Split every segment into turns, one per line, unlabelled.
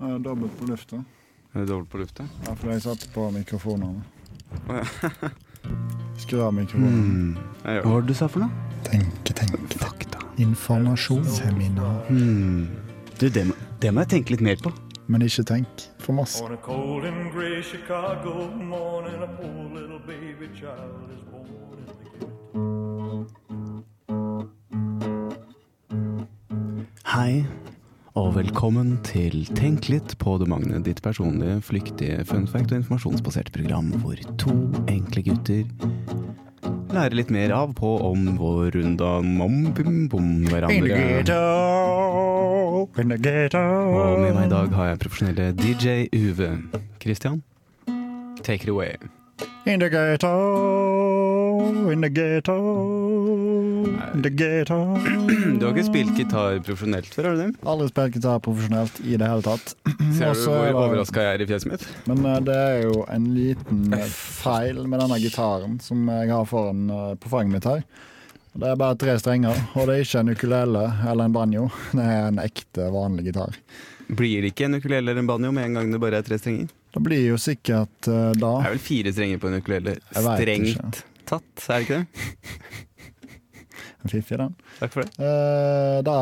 eh, dobbelt på lufta.
Er det dobbelt på lufta?
Ja, for jeg satte på mikrofonene.
Å,
Skru av mikrofonen.
Jeg gjør det.
du sa for noe?
Mm. Tenke, tenke.
Fakta.
Informasjon. Seminar.
Du, det må, det må jeg tenke litt mer på.
Men ikke tenk for masse.
On a cold and gray Chicago morning, a poor little baby child is born in the ghetto.
Hei, og velkommen til Tenk litt på du Magne, ditt personlige, flyktige, funfact- og informasjonsbasert program hvor to enkle gutter lærer litt mer av på om vår runda mom-bum-bom hverandre.
In the ghetto.
Og med meg i dag har jeg profesjonelle DJ Uve. Christian, take it away.
In the ghetto. In the ghetto. In the ghetto.
Du har ikke spilt gitar profesjonelt før, har du det?
Aldri spilt gitar profesjonelt i det hele tatt.
Ser du
Også er
hvor
det-
overraska jeg er i fjeset mitt?
Men eh, det er jo en liten eh, feil med denne gitaren som jeg har foran eh, på fanget mitt her. Det er bare tre strenger, og det er ikke en ukulele eller en banjo. Det er en ekte, vanlig gitar.
Blir det ikke en ukulele eller en banjo med en gang det bare er tre strenger?
Det blir jo sikkert eh, da
Det er vel fire strenger på en ukulele.
Jeg vet
Strengt tatt, er det ikke det?
Fiffig, den.
Takk for det.
Eh, Da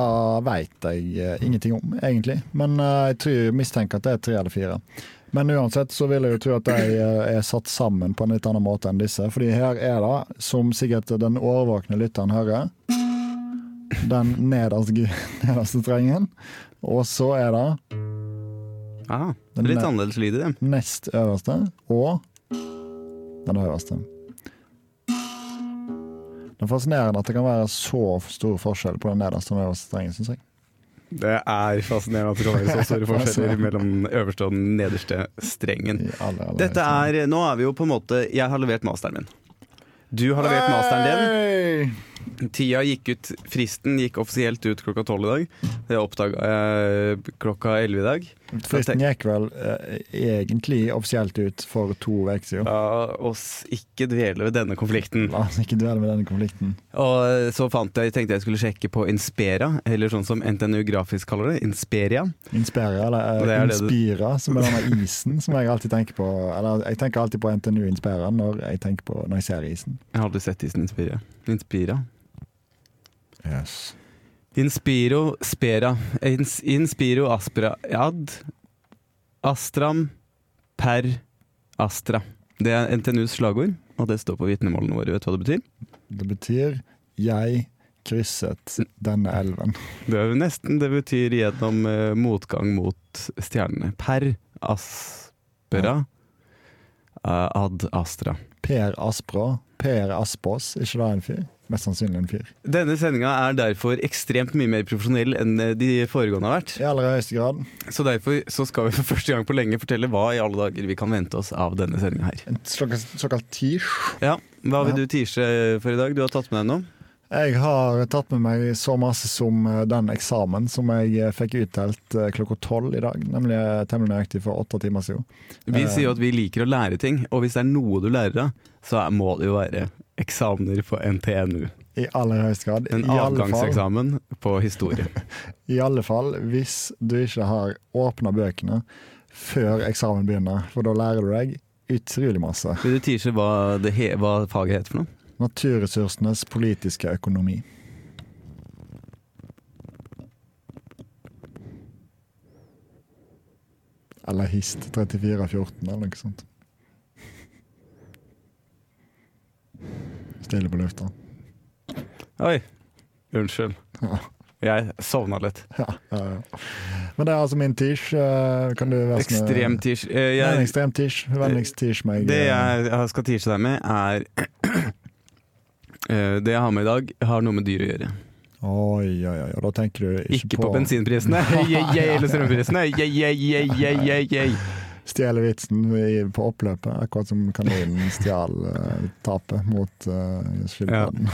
veit jeg eh, ingenting om, egentlig. Men eh, jeg tror, mistenker at det er tre eller fire. Men uansett så vil jeg jo tro at de eh, er satt sammen på en litt annen måte enn disse. Fordi her er det, som sikkert den årvåkne lytteren hører, den nederste, nederste strengen. Og så er det
Aha,
Den
litt
er-
annerledes lyd i det.
nest øverste og den øverste. Det er fascinerende at det kan være så stor forskjell på den nederste og den øverste strengen, syns jeg.
Det er fascinerende at det kan være så store forskjeller mellom den øverste og den nederste strengen.
I aller, aller
Dette er, Nå er vi jo på en måte Jeg har levert masteren min. Du har levert masteren
Hey!
din. Tida gikk ut, Fristen gikk offisielt ut klokka tolv i dag. Det oppdaga jeg klokka elleve i dag.
Fristen gikk vel eh, egentlig offisielt ut for to uker siden.
La oss ikke dvele ved denne konflikten.
La oss ikke dvele med denne konflikten.
Og så fant jeg, tenkte jeg skulle sjekke på Inspera, eller sånn som NTNU Grafisk kaller det, Insperia.
Inspira, eller
Det
eh,
er det du-
Inspira, som er denne isen som jeg alltid tenker på. Eller jeg tenker alltid på NTNU Inspira når jeg, tenker på, når jeg ser isen.
Jeg har aldri sett isen Inspira. Inspira.
Yes.
Inspiro Spera. Ins, inspiro Aspra. Ad. Astram. Per. Astra. Det er NTNUs slagord, og det står på vitnemålene våre. Vet du hva det betyr?
Det betyr 'jeg krysset denne elven'.
Det er jo nesten det betyr gjennom eh, motgang mot stjernene. Per. Aspera. eh, ad Astra.
Per Aspra. Per Aspås, ikke da en fyr? Mest sannsynlig en fyr.
Denne sendinga er derfor ekstremt mye mer profesjonell enn eh, de foregående har vært.
I aller høyeste grad.
Så derfor så skal vi for første gang på lenge fortelle hva i alle dager vi kan vente oss av denne sendinga her.
En såkalt, såkalt tirsj.
Ja, Hva vil du tease for i dag? Du har tatt med deg noe?
Jeg har tatt med meg så masse som eh, den eksamen som jeg eh, fikk utdelt eh, klokka tolv i dag. Nemlig eh, temmelig nøyaktig for åtte timer siden.
Vi
Eh.
sier jo at vi liker å lære ting, og hvis det er noe du lærer av, så er- må det jo være eksamener på NTNU.
I aller høyeste grad.
En
I alle, fall,
avgangseksamen på historie.
I alle fall hvis du ikke har åpna bøkene før eksamen begynner, for da lærer du deg utrolig masse.
Vil du tease hva, det he hva faget heter for noe?
Naturressursenes politiske økonomi. Eller HIST 3414, eller noe sånt. Stille på lufta.
Oi, unnskyld. Jeg sovna litt.
Ja, ja, ja. Men det er altså min tish. eh, Kan du være snill?
Ekstrem tease. Eh,
Det er en
jeg-
ekstrem tish. Vennligst tish meg.
Det
eh,
jeg jeg skal tease deg med, er Eh, Det jeg har med i dag, har noe med dyr å gjøre.
Oi, oi, oi. Og da tenker du ikke,
Ikke, på, bensinprisene yeah, yeah, eller strømprisene. Yeah, yeah, yeah, yeah, yeah, yeah.
Stjele vitsen i- på oppløpet, akkurat som kaninen stjal eh, tapet mot uh, skilpadden.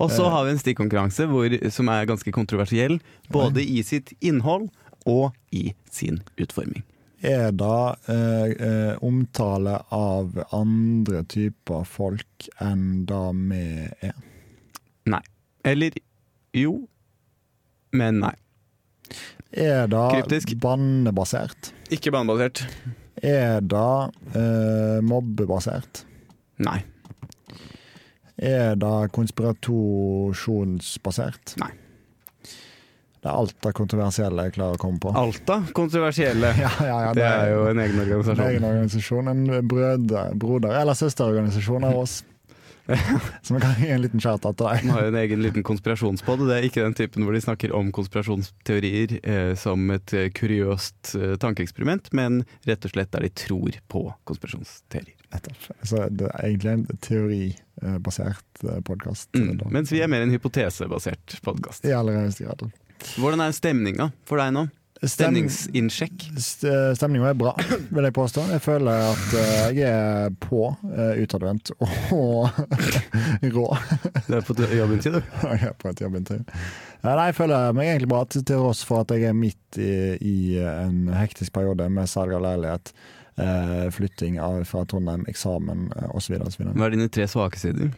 Og så har vi en stikkonkurranse hvor, som er ganske kontroversiell. Både i sitt innhold og i sin utforming.
Er det eh, eh, omtale av andre typer folk enn det vi er?
Nei. Eller jo, men nei.
Er det
Kryptisk.
bannebasert?
Ikke banebasert.
Er det eh, mobbebasert?
Nei.
Er det konspirasjonsbasert?
Nei.
Det er alt det kontroversielle jeg klarer å komme på.
Alta kontroversielle.
Ja, ja, ja,
Det er jo en egen
en egen
organisasjon.
organisasjon. En brøder, broder- eller søsterorganisasjon av oss. Som kan gi en liten shout-out til deg.
Den har jo en egen liten konspirasjonspod. Det er ikke den typen hvor de snakker om konspirasjonsteorier eh, som et eh, kuriøst eh, tankeeksperiment, men rett og slett der de tror på konspirasjonsteorier.
Så det er egentlig en teoribasert eh, podkast.
Mm. Mens vi er mer en hypotesebasert podkast.
I aller høyeste grad.
Hvordan er stemninga for deg nå? Stemningsinnsjekk?
Stemninga eh, er bra, vil jeg påstå. Jeg føler at eh, jeg er på, eh, utadvendt og rå.
Det er på jobben til, du.
Jeg er på et jobbintervju. Ja, Nei, jeg føler meg egentlig bra, til til tross for at jeg er midt i, i en hektisk periode med salg av leilighet, eh, flytting av, fra Trondheim, eksamen eh, osv.
Hva er dine tre svake sider?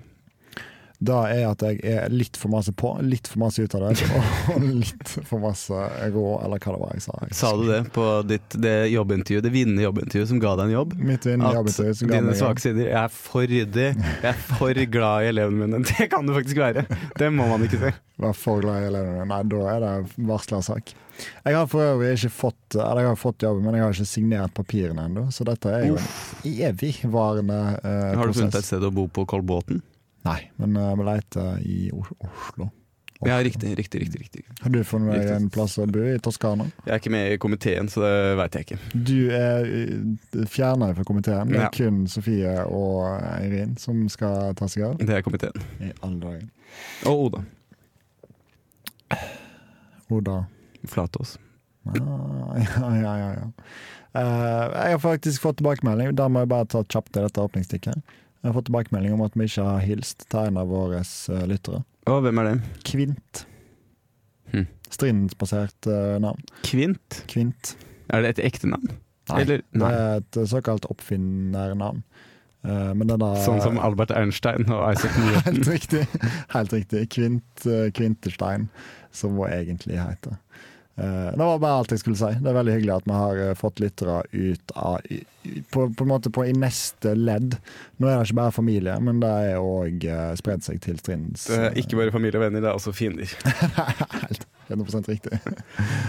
Da er at jeg er litt for masse på, litt for masse utadvendt og litt for masse rå, eller hva det var jeg sa. Jeg
Sa du det på ditt, det jobbintervju, det vinnende jobbintervjuet som ga deg en jobb?
Midt i en
At
jobbintervju som ga
dine
meg en jobb.
svake sider Jeg er for ryddig, jeg er for glad i elevene mine. Det kan du faktisk være. Det må man ikke si.
Var for glad i elevene mine. Nei, da er det varsla sak. Jeg har for øvrig ikke fått Eller jeg har fått jobben, men jeg har ikke signert papirene ennå. Så dette er jo en evigvarende eh,
Har du
prosess.
funnet deg et sted å bo på Kolbotn?
Nei, men eh, vi leter i Os- Oslo. Oslo.
Ja, riktig, riktig, riktig, riktig.
Har du funnet deg
Riktig.
en plass å bo i Toskana?
Jeg er ikke med i komiteen, så det veit jeg ikke.
Du eh, er fjerna fra komiteen. Det er
Ja.
kun Sofie og Eirin som skal ta seg av.
Det er komiteen.
I alle dager.
Og Oda.
Oda.
Flatås.
Ah, ja, ja, ja, ja. Eh, jeg har faktisk fått tilbakemelding Da må jeg bare ta kjapt i dette åpningsstikket. Jeg har fått tilbakemelding om at vi ikke har hilst til en av våre eh, lyttere.
Og hvem er det?
Kvint.
Hm.
Strindbasert eh, navn.
Kvint?
Kvint.
Er det et ekte navn?
Nei,
Eller,
Det
nei.
er et eh, såkalt oppfinnernavn. Eh, men det er da
Sånn som Albert Einstein og Isaac Newton.
Helt riktig. Helt riktig. Kvint, eh, Kvinterstein, som hun egentlig heter. Eh, Det var bare alt jeg skulle si. Det er veldig hyggelig at vi har eh, fått lyttere ut av i- i- på, på en måte på i neste ledd. Nå er det ikke bare familie, men det er òg eh, spredd seg til trinns. eh,
Det er Ikke bare familie og venner, det er også fiender.
Helt 100 riktig.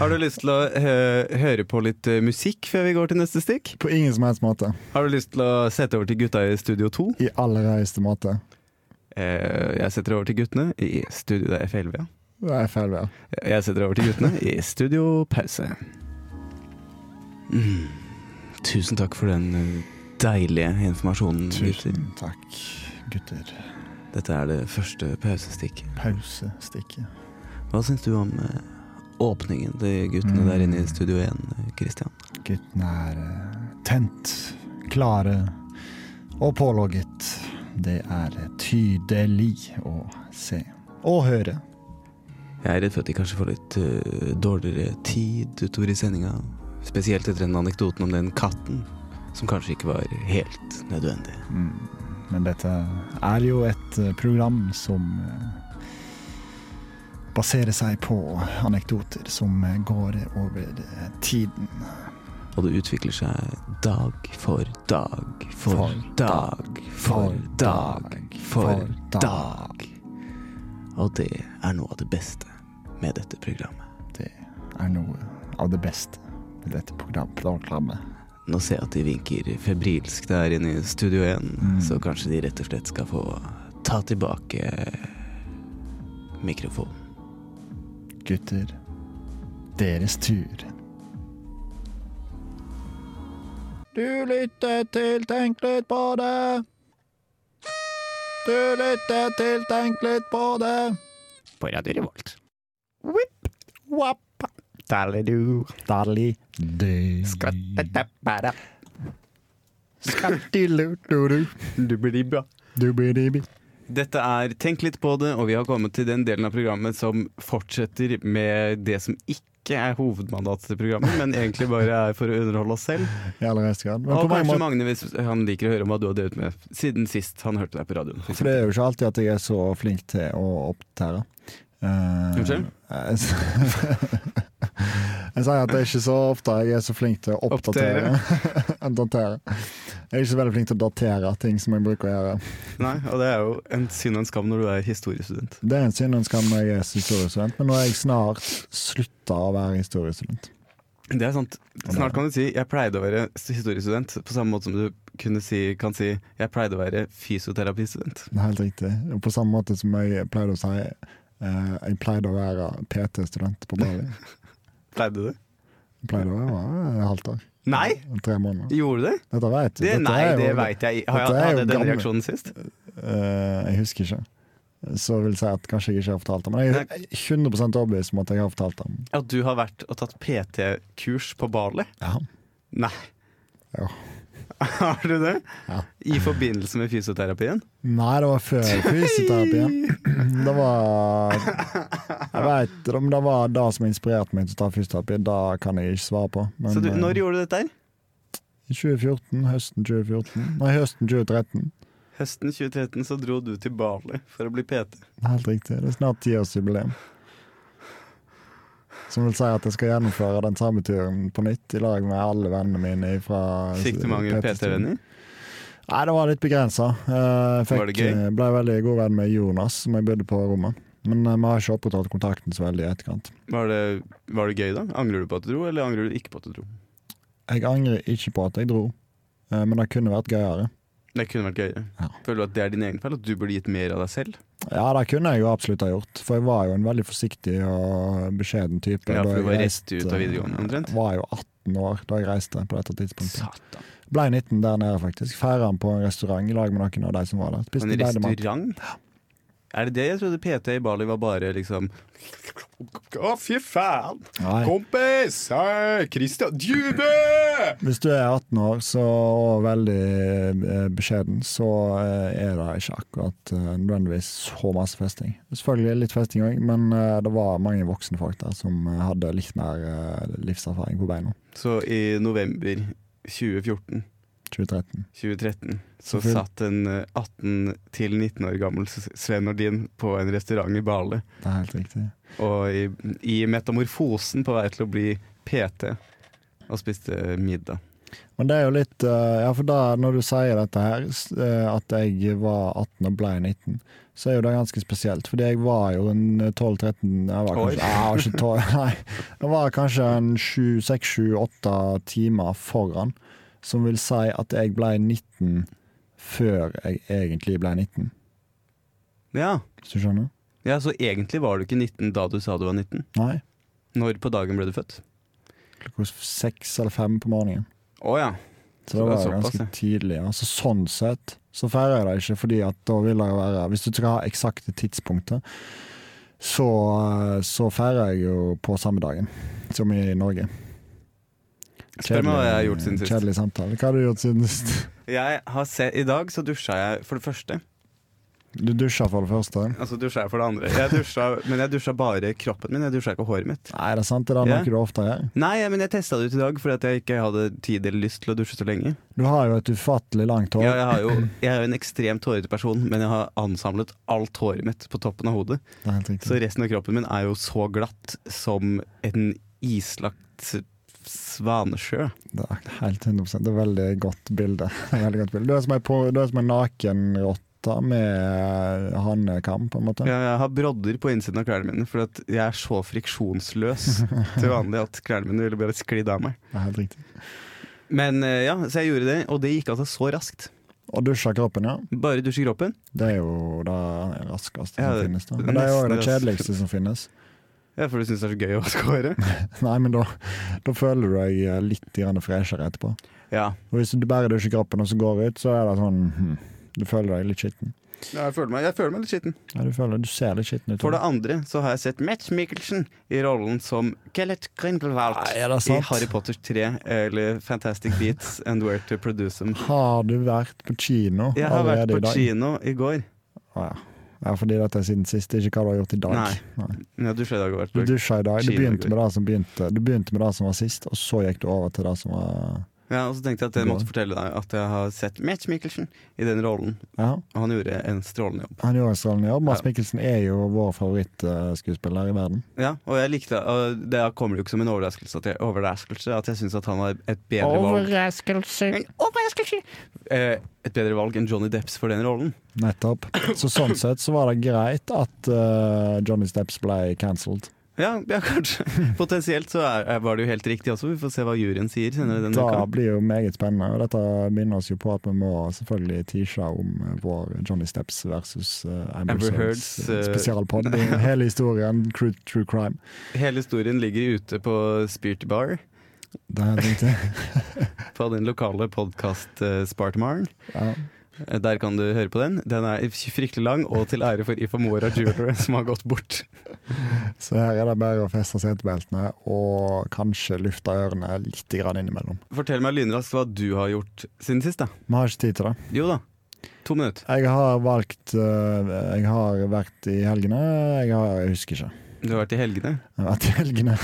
Har du lyst til å eh, høre på litt eh, musikk før vi går til neste stikk?
På ingen som helst måte.
Har du lyst til å sette over til gutta i Studio 2?
I aller høyeste måte.
Eh, jeg setter over til guttene i Studio det er FLV. ja.
Det er feil vei.
Jeg setter over til guttene i Studio Pause. Mm. Tusen takk for den eh, deilige informasjonen, gutter.
Tusen takk, gutter.
Dette er det første pausestikket.
Pausestikket.
Hva syns du om eh, åpningen til guttene der inne i Studio 1, Christian?
Guttene er eh, tent, klare og pålogget. Det er tydelig å se. Og høre.
Jeg er redd for at de kanskje får litt øh, dårligere tid utover i sendinga. Spesielt etter den anekdoten om den katten, som kanskje ikke var helt nødvendig.
Mm, Men dette er jo et eh, program som eh, baserer seg på anekdoter som eh, går over eh, tiden.
Og det utvikler seg dag for dag for,
For
dag for dag for dag. Og det er noe av det beste med dette programmet.
Det er noe av det beste med dette program- programmet.
Nå ser jeg at de vinker febrilsk der inne i Studio 1, så kanskje de rett og slett skal få ta tilbake mikrofonen.
Gutter, deres tur. Du lytter til Tenk litt på det. Du lytter til Tenk litt på det.
På Radio Revolt.
Whip, wap,
Dalidu.
dali, du.
Skrattetabara.
Skattilu, du, du.
Dubbelibba.
Du blir dibi.
Dette er Tenk litt på det, og vi har kommet til den delen av programmet som fortsetter med det som ikke er hovedmandatet til programmet, men egentlig bare er for å underholde oss selv.
I aller høyeste grad. Men
Og
på mange
kanskje
måter-
Magne, hvis han liker å høre om hva du har drevet med siden sist han hørte deg på radioen. for
For det
eksempel.
er jo ikke alltid at jeg er så flink til å opptære. Eh,
Unnskyld?
eh, Jeg sier at det er ikke så ofte jeg er så flink til å oppdatere. enn datere. Jeg er ikke så veldig flink til å datere ting som jeg bruker å gjøre.
Nei, og det er jo en synd og en skam når du er historiestudent.
Det er en synd og en skam når jeg er historiestudent, men nå har jeg snart slutta å være historiestudent.
Det er sant. Snart kan du si 'jeg pleide å være historiestudent', på samme måte som du kunne si, kan si 'jeg pleide å være fysioterapistudent'.
Det er helt riktig. Og På samme måte som jeg pleide å si eh, jeg pleide å være PT-student på Bali.
Pleide du?
Jeg pleide å være et halvt år.
Nei!
Tre måneder.
Gjorde du det?
Dette vet du.
det
Dette
nei,
er jo-
det veit jeg. Har jeg
dette er jo
hadde jeg den
gammel.
reaksjonen sist?
Eh, jeg husker ikke. Så vil jeg si at kanskje jeg ikke har fortalt det. Men jeg er 100 overbevist om at jeg har fortalt det.
At du har vært og tatt PT-kurs på Bali?
Ja.
Nei.
Jo.
Har du det?
Ja.
I forbindelse med fysioterapien?
Nei, det var før fysioterapien. Det var Jeg vet, det, men det var det som inspirerte meg til å ta fysioterapi. Det kan jeg ikke svare på. Men,
Så du,
eh,
når gjorde du dette her?
I 2014. Høsten 2014. Nei, høsten 2013.
Høsten 2013 så dro du til Bali for å bli PT.
Det er Helt riktig. Det er snart tiårsjubileum. Som vil si at jeg skal gjennomføre den samme turen på nytt i lag med alle vennene mine fra
Fikk du mange PT-venner?
Nei, det var litt begrensa.
Var det
Jeg
gøy?
eh, ble veldig god venn med Jonas, som jeg bodde på rommet. Men eh, vi har ikke opprettholdt kontakten så veldig i etterkant.
Var det, var det gøy, da? Angrer du på at du dro, eller angrer du ikke på at du dro?
Jeg angrer ikke på at jeg dro, eh, men det kunne vært gøyere.
Det kunne vært gøyere.
Ja.
Føler du at det er din egen feil? At du burde gitt mer av deg selv?
Ja, det kunne jeg jo absolutt ha gjort, for jeg var jo en veldig forsiktig og beskjeden type. da
Ja, for
jeg
du var rett
reiste.
ut av videregående, omtrent.
Jeg var jo 18 år da jeg reiste på dette tidspunktet.
Satan.
Ble 19 der nede, faktisk. Feira den på en restaurant i lag med noen av de som var der. Spiste
En
deilig mat.
restaurant? Er det det? Jeg trodde PT i Bali var bare liksom Å, fy faen!
Nei.
Kompis! Kristian Djube!
Hvis du er 18 år så, og veldig eh, beskjeden, så eh, er det ikke akkurat eh, nødvendigvis så masse festing. Selvfølgelig litt festing òg, men eh, det var mange voksne folk der som eh, hadde litt mer eh, livserfaring på beina.
Så i november 2014
2013.
2013 så
Selvfølgelig.
satt en eh, 18 til 19 år gammel S- Sven Nordin på en restaurant i Bale.
Det er helt riktig.
Og i, i metamorfosen på vei til å bli PT. Og spiste middag.
Men det er jo litt eh, Ja, for da, når du sier dette her, s- eh, at jeg var 18 og ble 19, så er jo det ganske spesielt. Fordi jeg var jo en 12-13 Jeg var
År.
kanskje, Nei, jeg var ikke 12, nei. Jeg var kanskje en 6-7-8 timer foran, som vil si at jeg ble 19 før jeg egentlig ble 19.
Ja.
Hvis du skjønner?
ja, så egentlig var du ikke 19 da du sa du var 19.
Nei.
Når på dagen ble du født?
Klokka seks eller fem på morgenen.
Å ja.
Så
Så
det
det
var
er
jo
såpass,
ganske tidlig. Ja. Så sånn sett så feirer jeg det ikke, fordi at da vil jeg jo være Hvis du skal ha eksakte tidspunkter, så, så feirer jeg jo på samme dagen som i Norge.
Spør meg hva jeg har gjort siden sist.
Kjedelig samtale. Hva har du gjort siden sist?
Jeg har se I dag så dusja jeg for det første.
Du dusja for det første.
Altså dusja jeg for det andre. Jeg dusja, men jeg dusja bare kroppen min, jeg dusja ikke håret mitt.
Nei, det er sant. Det er
Ja.
noe du ofte gjør.
Nei, men jeg testa det ut i dag fordi at jeg ikke hadde tid eller lyst til å dusje så lenge.
Du har jo et ufattelig langt hår.
Ja, jeg, har jo, jeg er jo en ekstremt hårete person, men jeg har ansamlet alt håret mitt på toppen av hodet.
Det er helt riktig.
Så resten av kroppen min er jo så glatt som en islagt s- svanesjø.
Det er helt 100 Det er veldig godt bilde. Veldig godt bilde. Du er som ei på- du er som ei nakenrotte med hannekam, på en måte.
Jeg, jeg har brodder på innsiden av klærne mine fordi at jeg er så friksjonsløs til vanlig at klærne mine ville bare sklidd av meg.
Det er helt riktig.
Men eh, ja, så jeg gjorde det, og det gikk altså så raskt.
Og dusja kroppen, ja.
Bare dusje kroppen.
Det er jo det raskeste
Ja,
som
det-
finnes. da
det
Men det er jo
nesten
det
raskeste.
kjedeligste som finnes.
Ja, for du syns det er så gøy å vaske håret?
Nei, men da, da føler du deg eh, litt grann freshere etterpå.
Ja.
Og hvis du bare dusjer kroppen og så går ut, så er det sånn hm, Du føler deg litt skitten.
Jeg føler meg, jeg føler meg litt skitten.
Ja, du, føler, du ser litt skitten ut.
For det andre så har jeg sett Matt Mikkelsen i rollen som Kellett Grindelwald
Nei, er det
i
sant?
Harry Potter 3 eller Fantastic Beats and Where to Produce Them.
Har du vært på kino
Jeg har vært
allerede
på
i dag?
kino i går.
Å, ja. ja, fordi dette er siden sist. Det er ikke hva du har gjort i dag.
Nei. Ja, du skjønner jeg har
Du
vært på
dusja i dag. Du
Kino i
begynte,
går.
med det som begynte, du begynte med det som var sist, og så gikk du over til det som var
Ja, og så tenkte jeg at jeg måtte fortelle deg at jeg har sett Mads Mikkelsen i den rollen.
Ja.
Og han gjorde en strålende jobb.
Han gjorde en strålende jobb. Mads
Ja.
Mikkelsen er jo vår favorittskuespiller i verden.
Ja, og jeg likte og det kommer jo ikke som en overraskelse at jeg, overraskelse, at jeg syns at han var et bedre valg
Overraskelse!
En Overraskelse! Eh, et bedre valg enn Johnny Depps for den rollen.
Nettopp. Så sånn sett så var det greit at eh, Johnny Steps ble cancelled.
Ja, ja kanskje. Potensielt så er, er- var det jo helt riktig også. Vi får se hva juryen sier senere denne
Da
uka.
blir jo meget spennende, og dette minner oss jo på at vi må selvfølgelig teache om eh, vår Johnny Steps versus uh, Amber,
Amber
Heards
Heards, eh,
spesialpod. Hele historien, true, true crime.
Hele historien ligger ute på Spirit Bar,
Det er helt riktig.
på den lokale podkast Spartmaren.
Ja.
Eh, Der kan du høre på den. Den er fryktelig lang, og til ære for Ifamora Jeweler som har gått bort.
Så her er det bare å feste setebeltene og kanskje lufte ørene litt grann innimellom.
Fortell meg lynraskt hva du har gjort siden sist, da.
Vi har ikke tid til det.
Jo da. To minutter.
Jeg har valgt øh, Jeg har vært i helgene. Jeg, har, jeg husker ikke.
Du har vært i helgene.
Jeg har vært i helgene.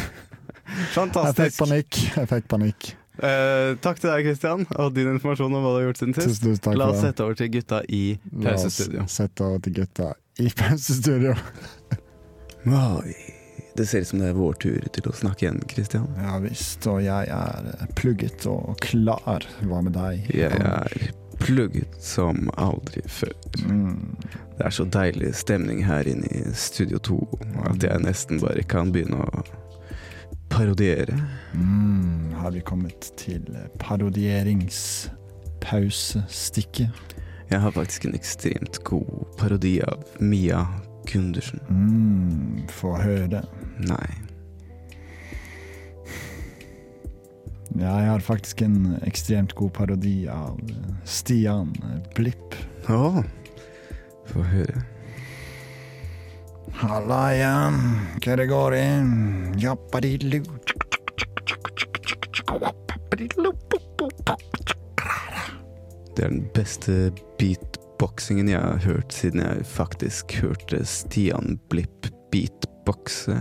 Jeg fikk
Fantastisk.
panikk. Jeg fikk panikk.
Eh, takk til deg, Christian, og din informasjon om hva du har gjort siden sist.
Tusen, tusen takk
La oss
for det.
sette over til gutta i
La oss
pausestudio.
sette over til gutta i pausestudio.
Oi.
Det ser ut som det er vår tur til å snakke igjen, Christian.
Ja visst, og jeg er plugget og klar. Hva med deg?
Jeg er plugget som aldri før.
Mm.
Det er så deilig stemning her inne i Studio 2 at jeg nesten bare kan begynne å parodiere.
Mm. Har vi kommet til parodieringspause-stikket?
Jeg har faktisk en ekstremt god parodi av Mia Gundersen.
Mm. Få høre det.
Nei.
Ja, jeg har faktisk en ekstremt god parodi av eh, Stian eh, Blipp.
Å, få høre.
Halla igjen, hva det går i? Jappadilu.
Det er den beste beatboxingen jeg har hørt siden jeg faktisk hørte Stian Blipp beatboxe.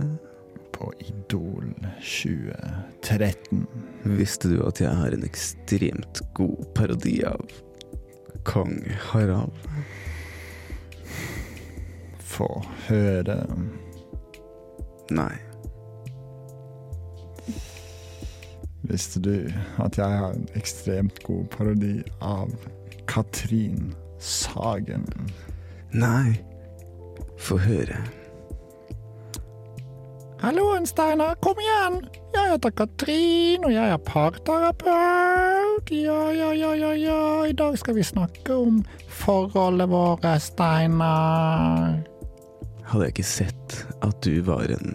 På Idol 2013.
Visste du at jeg har en ekstremt god parodi av kong Harald?
Få høre.
Nei.
Visste du at jeg har en ekstremt god parodi av Katrin Sagen?
Nei. Få høre.
Halloen, Steinar. Kom igjen! Jeg heter Katrin, og jeg er parterapeut. Ja, ja, ja, ja, ja. I dag skal vi snakke om forholdet våre, Steinar.
Hadde jeg ikke sett at du var en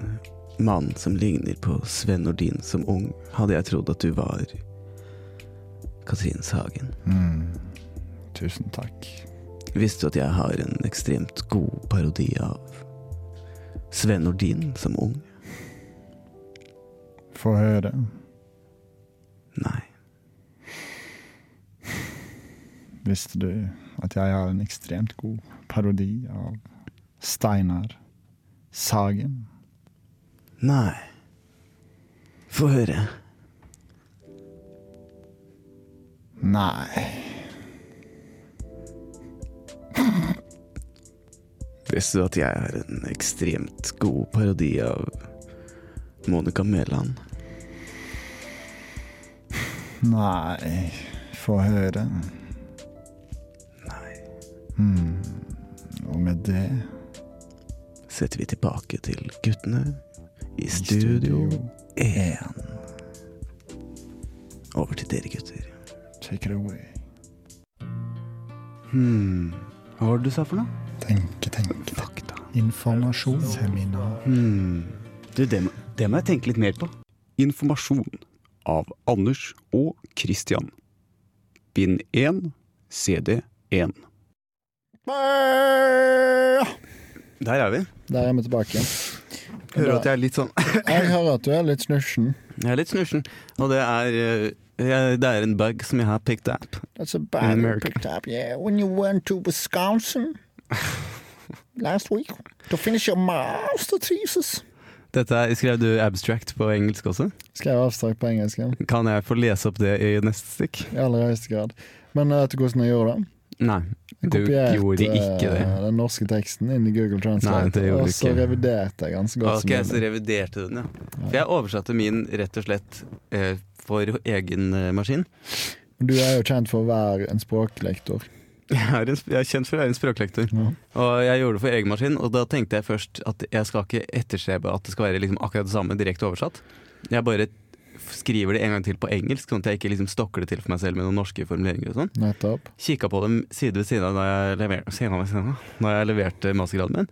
mann som ligner på Sven Nordin som ung, hadde jeg trodd at du var Katrin Sagen.
Hmm. Tusen takk.
Visste du at jeg har en ekstremt god parodi av Sven Nordin som ung?
Få høre.
Nei.
Visste du at jeg har en ekstremt god parodi av Steinar Sagen?
Nei. Få høre.
Nei.
Visste du at jeg er en ekstremt god parodi av Monica Mæland?
Nei. Få høre.
Nei.
Hmm. Og med det
Setter vi tilbake til guttene i studio
én.
Over til dere, gutter.
Take it away.
Hmm. Hva var det du sa for noe?
Tenke, tenke. Fakta. Informasjon. Seminar.
Hmm. Du, det, må- det må jeg tenke litt mer på.
Informasjon av Anders og Christian. Bind 1, CD 1.
Der er vi.
Der er vi tilbake.
Hører at jeg er litt sånn
Jeg hører at du er litt snusjen.
Jeg er litt snusjen. Og det er eh, jeg, Det er en bug som jeg har picked up.
That's a bad
In
you
America.
picked up, yeah. When you went to Wisconsin last week to finish your master thesis.
Dette er, Skrev du abstract på engelsk også?
Skrev avstrakt på engelsk. ja.
Kan jeg få lese opp det i neste stikk?
I aller høyeste grad. Men vet du hvordan jeg gjorde det?
Nei.
Jeg
Du gjorde ikke det.
eh, den norske teksten inn i Google
Nei,
Translate,
det gjorde
og
du
så
ikke.
reviderte jeg ganske godt.
Ok,
som
så
mulig.
reviderte du den, ja. For jeg oversatte min rett og slett eh, for egen eh, maskin.
Du er jo kjent for å være en språklektor.
Jeg er, en, sp- jeg er kjent for å være en språklektor,
Ja.
og jeg gjorde det for egen maskin. Og da tenkte jeg først at jeg skal ikke etterstrebe at det skal være liksom akkurat det samme direkte oversatt. Jeg bare f- skriver det en gang til på engelsk, sånn at jeg ikke liksom stokker det til for meg selv med noen norske formuleringer og sånn.
Nettopp.
Kikka på dem side ved side av da jeg leverte, siden av, siden av, da jeg leverte mastergraden min.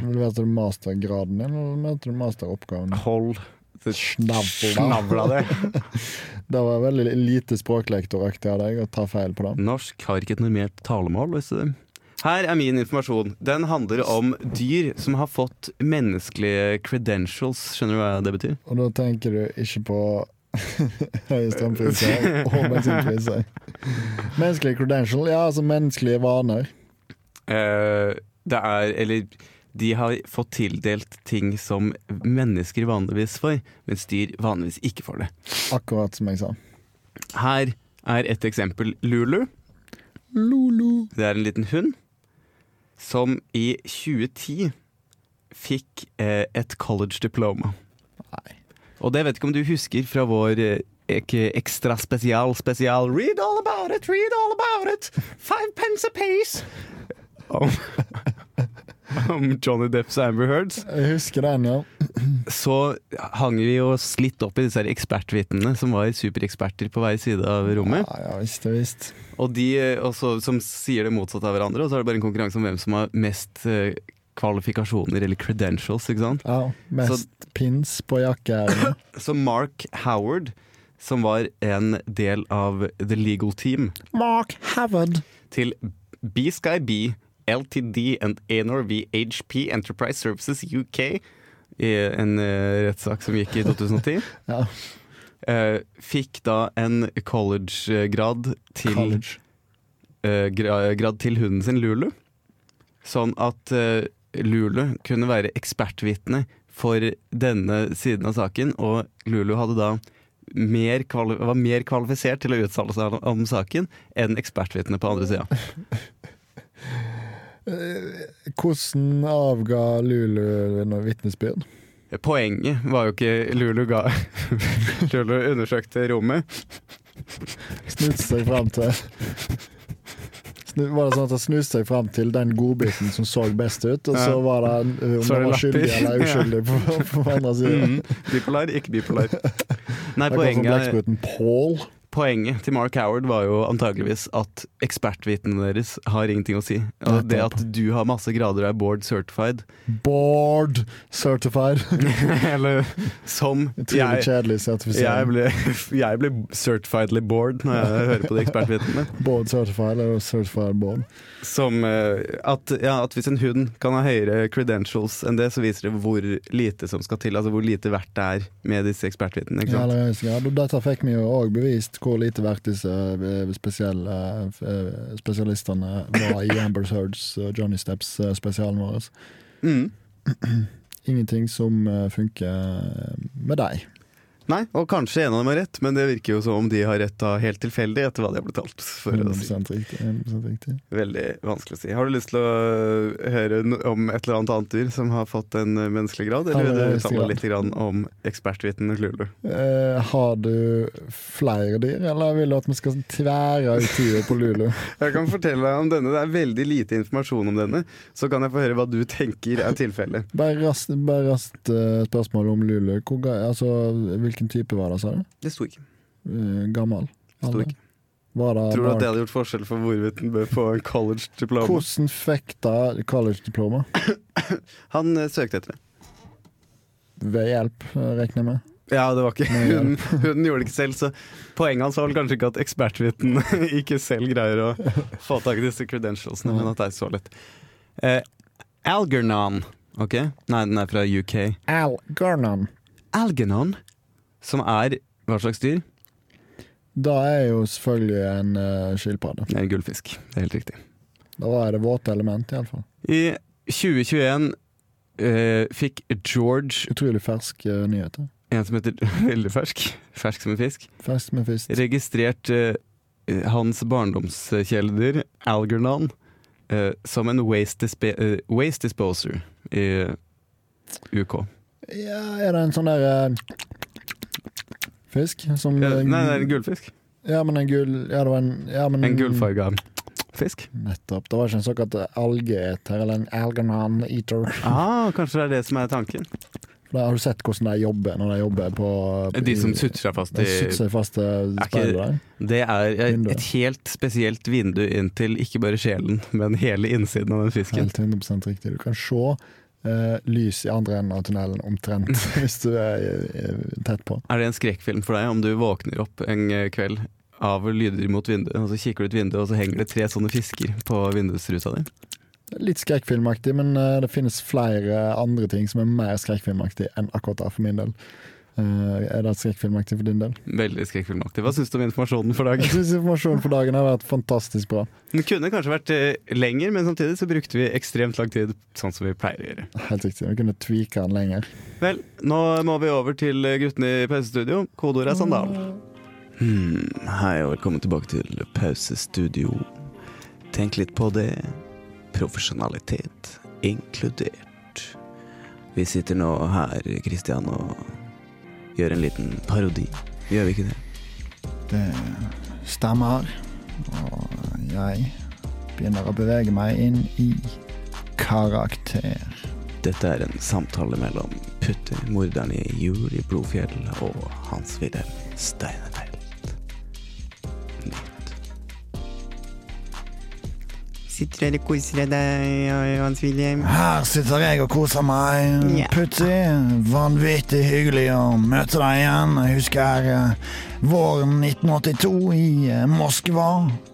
Vet du ma- vet du mastergraden din, eller vet du masteroppgaven?
Hold
Snavla.
snavla det.
Det var veldig lite språklektoraktig av deg å ta feil på det.
Norsk har ikke et normert talemål. Hvis du... Her er min informasjon. Den handler om dyr som har fått menneskelige credentials. Skjønner du hva det betyr?
Og da tenker du ikke på høye strømpriser og bensinpriser. Menneskelige credential, ja altså menneskelige vaner.
Eh, det er Eller de har fått tildelt ting som mennesker vanligvis får, mens dyr vanligvis ikke får det.
Akkurat som jeg sa.
Her er et eksempel. Lulu.
Lulu.
Det er en liten hund som i 2010 fikk eh, et college diploma.
Nei.
Og det vet ikke om du husker fra vår eh, ek- ekstra spesial spesial Read all about it, read all about it! Five pence a piece! Om, om Johnny Depps Amber Heards.
Jeg husker den, ja.
Så hang vi oss litt opp i disse her ekspertvitnene som var supereksperter på hver side av rommet.
Ja, ja visst, det visst.
Og de eh, også, som sier det motsatte av hverandre, og så er det bare en konkurranse om hvem som har mest eh, kvalifikasjoner, eller credentials, ikke sant.
Ja, mest pins på jakkeermet.
Så Mark Howard, som var en del av The Legal Team
Mark Havard.
til BSkyB LTD and NRV HP Enterprise Services UK, i en eh, rettssak som gikk i 2010,
Ja.
eh, fikk da en college-grad til
College.
eh, gra- grad til hunden sin Lulu. Sånn at eh, Lulu kunne være ekspertvitne for denne siden av saken, og Lulu hadde da mer kvali var mer kvalifisert til å uttale seg om- om saken enn ekspertvitne på andre sida.
Eh, Hvordan avga Lulu noe vitnesbyrd?
Poenget var jo ikke Lulu ga Lulu undersøkte rommet.
Snudde seg fram til Snu, var det sånn at Han snudde seg fram til den godbiten som så best ut, og så
Ja.
var det en- om
Så er
den
det
var skyldig
lapper.
eller uskyldig på, på andre siden.
Mhm. bipolar, ikke bipolar. Nei,
Der kom
poenget
blekkspruten Paul.
poenget til Mark Howard var jo antageligvis at ekspertvitene deres har ingenting å si. Og det at du har masse grader og er board certified,
Board certified.
eller som
Utrolig
jeg,
kjedelig
jeg,
sertifisering.
ble, jeg ble certifiedly bored når jeg hører på de ekspertvitnene.
Board certified eller certified board.
Som eh, at, ja, at hvis en hund kan ha høyere credentials enn det, så viser det hvor lite som skal til. Altså hvor lite verdt det er med disse
I
ekspertvitnene. Ikke sant?
aller høyeste grad. Og dette fikk vi jo òg bevist hvor lite verdt disse eh, spesielle eh, spesialistene var i Amber Heards og Johnny Steps-spesialen vår.
Mm.
Ingenting som eh, funker eh, med deg.
Nei, og kanskje en av dem har rett, men det virker jo som om de har rett da helt tilfeldig etter hva de har betalt. For å si.
100 riktig. 100 riktig.
Veldig vanskelig å si. Har du lyst til å eh, høre no- om et eller annet annet dyr som har fått en eh, menneskelig grad, eller
Aller
vil du
høyeste
tale
grad.
litt grann om ekspertviten Lulu?
Eh, har du flere dyr, eller vil du at vi skal tvære ut tida på Lulu?
Jeg kan fortelle deg om denne, det er veldig lite informasjon om denne, så kan jeg få høre hva du tenker er tilfellet.
Bare raskt bare raskt, eh, spørsmål om Lulu. Hvor, ga- altså, hvilken type var det, sa du?
Det sto ikke.
Eh, gammel?
Det sto
Alder?
ikke.
Var det
Tror du at
barn?
det hadde gjort forskjell for hvorvidt den bør få en college-diplom?
Hvordan fikk det college-diploma?
Han eh, søkte etter det.
Ved hjelp, eh, regner jeg med.
Ja, det var ikke hun, hun gjorde det ikke selv, så poenget hans var vel kanskje ikke at ekspertviten ikke selv greier å få tak i disse credentialsene, men at det er så lett. Eh, Algernon. Ok? Nei, den er fra UK.
Al Garnon.
Algernon, som er hva slags dyr?
Da er jo selvfølgelig en uh, skilpadde.
Det er en gullfisk. Det er helt riktig.
Da er det våte element, iallfall.
I 2021 eh, fikk George,
Utrolig ferske eh, nyheter.
en som heter veldig fersk, fersk som en fisk,
Fersk med fist.
registrert eh, hans barndomskjæleder, Algernon, eh, som en waste, disp eh, waste disposer i UK.
Ja, er det en sånn der eh, Fisk? Som
Ja,
eh,
nei, det er en gullfisk.
Ja, men en gull... Ja, det var en ja, men,
En gullfarga fisk.
Nettopp. Det var ikke en såkalt algeeter, eller en algernon eater.
Ah, kanskje det er det som er tanken.
For da Har du sett hvordan de jobber når de jobber på
De som
i-
sutrer seg fast
De
i
sutter seg fast i
ikke-
speilet der.
Det er
Vinduet.
et helt spesielt vindu inn til ikke bare sjelen, men hele innsiden av den fisken.
Helt 100 riktig. Du kan se eh, lys i andre enden av tunnelen omtrent, hvis du er eh, tett på.
Er det en skrekkfilm for deg om du våkner opp en eh, kveld av lyder mot vinduet, og så kikker du ut vinduet, og så henger det tre sånne fisker på vindusruta di?
Litt skrekkfilmaktig, men eh, det finnes flere andre ting som er mer skrekkfilmaktig enn akkurat det, for min del. Eh, er det skrekkfilmaktig for din del?
Veldig skrekkfilmaktig. Hva syns du om informasjonen for dag?
Jeg syns informasjonen for dagen har vært fantastisk bra.
Den kunne kanskje vært eh, lenger, men samtidig så brukte vi ekstremt lang tid, sånn som vi pleier å gjøre.
Helt riktig. Vi kunne tvika den lenger.
Vel, nå må vi over til eh, guttene i pausestudio. Kodeordet er sandal.
Hmm, hei og velkommen tilbake til Pausestudio. Tenk litt på det. Profesjonalitet inkludert. Vi sitter nå her, Kristian, og gjør en liten parodi. Gjør vi ikke det?
Det stemmer. Og jeg begynner å bevege meg inn i karakter.
Dette er en samtale mellom Putte, morderen i Jul i Blodfjell, og Hans-Wilhelm Steinefeld. Nytt.
Sitter her og koser deg, Hans Wilhelm.
Her sitter jeg og koser meg.
Ja.
Putti, vanvittig hyggelig å møte deg igjen. Jeg husker eh, våren 1982 i eh, Moskva,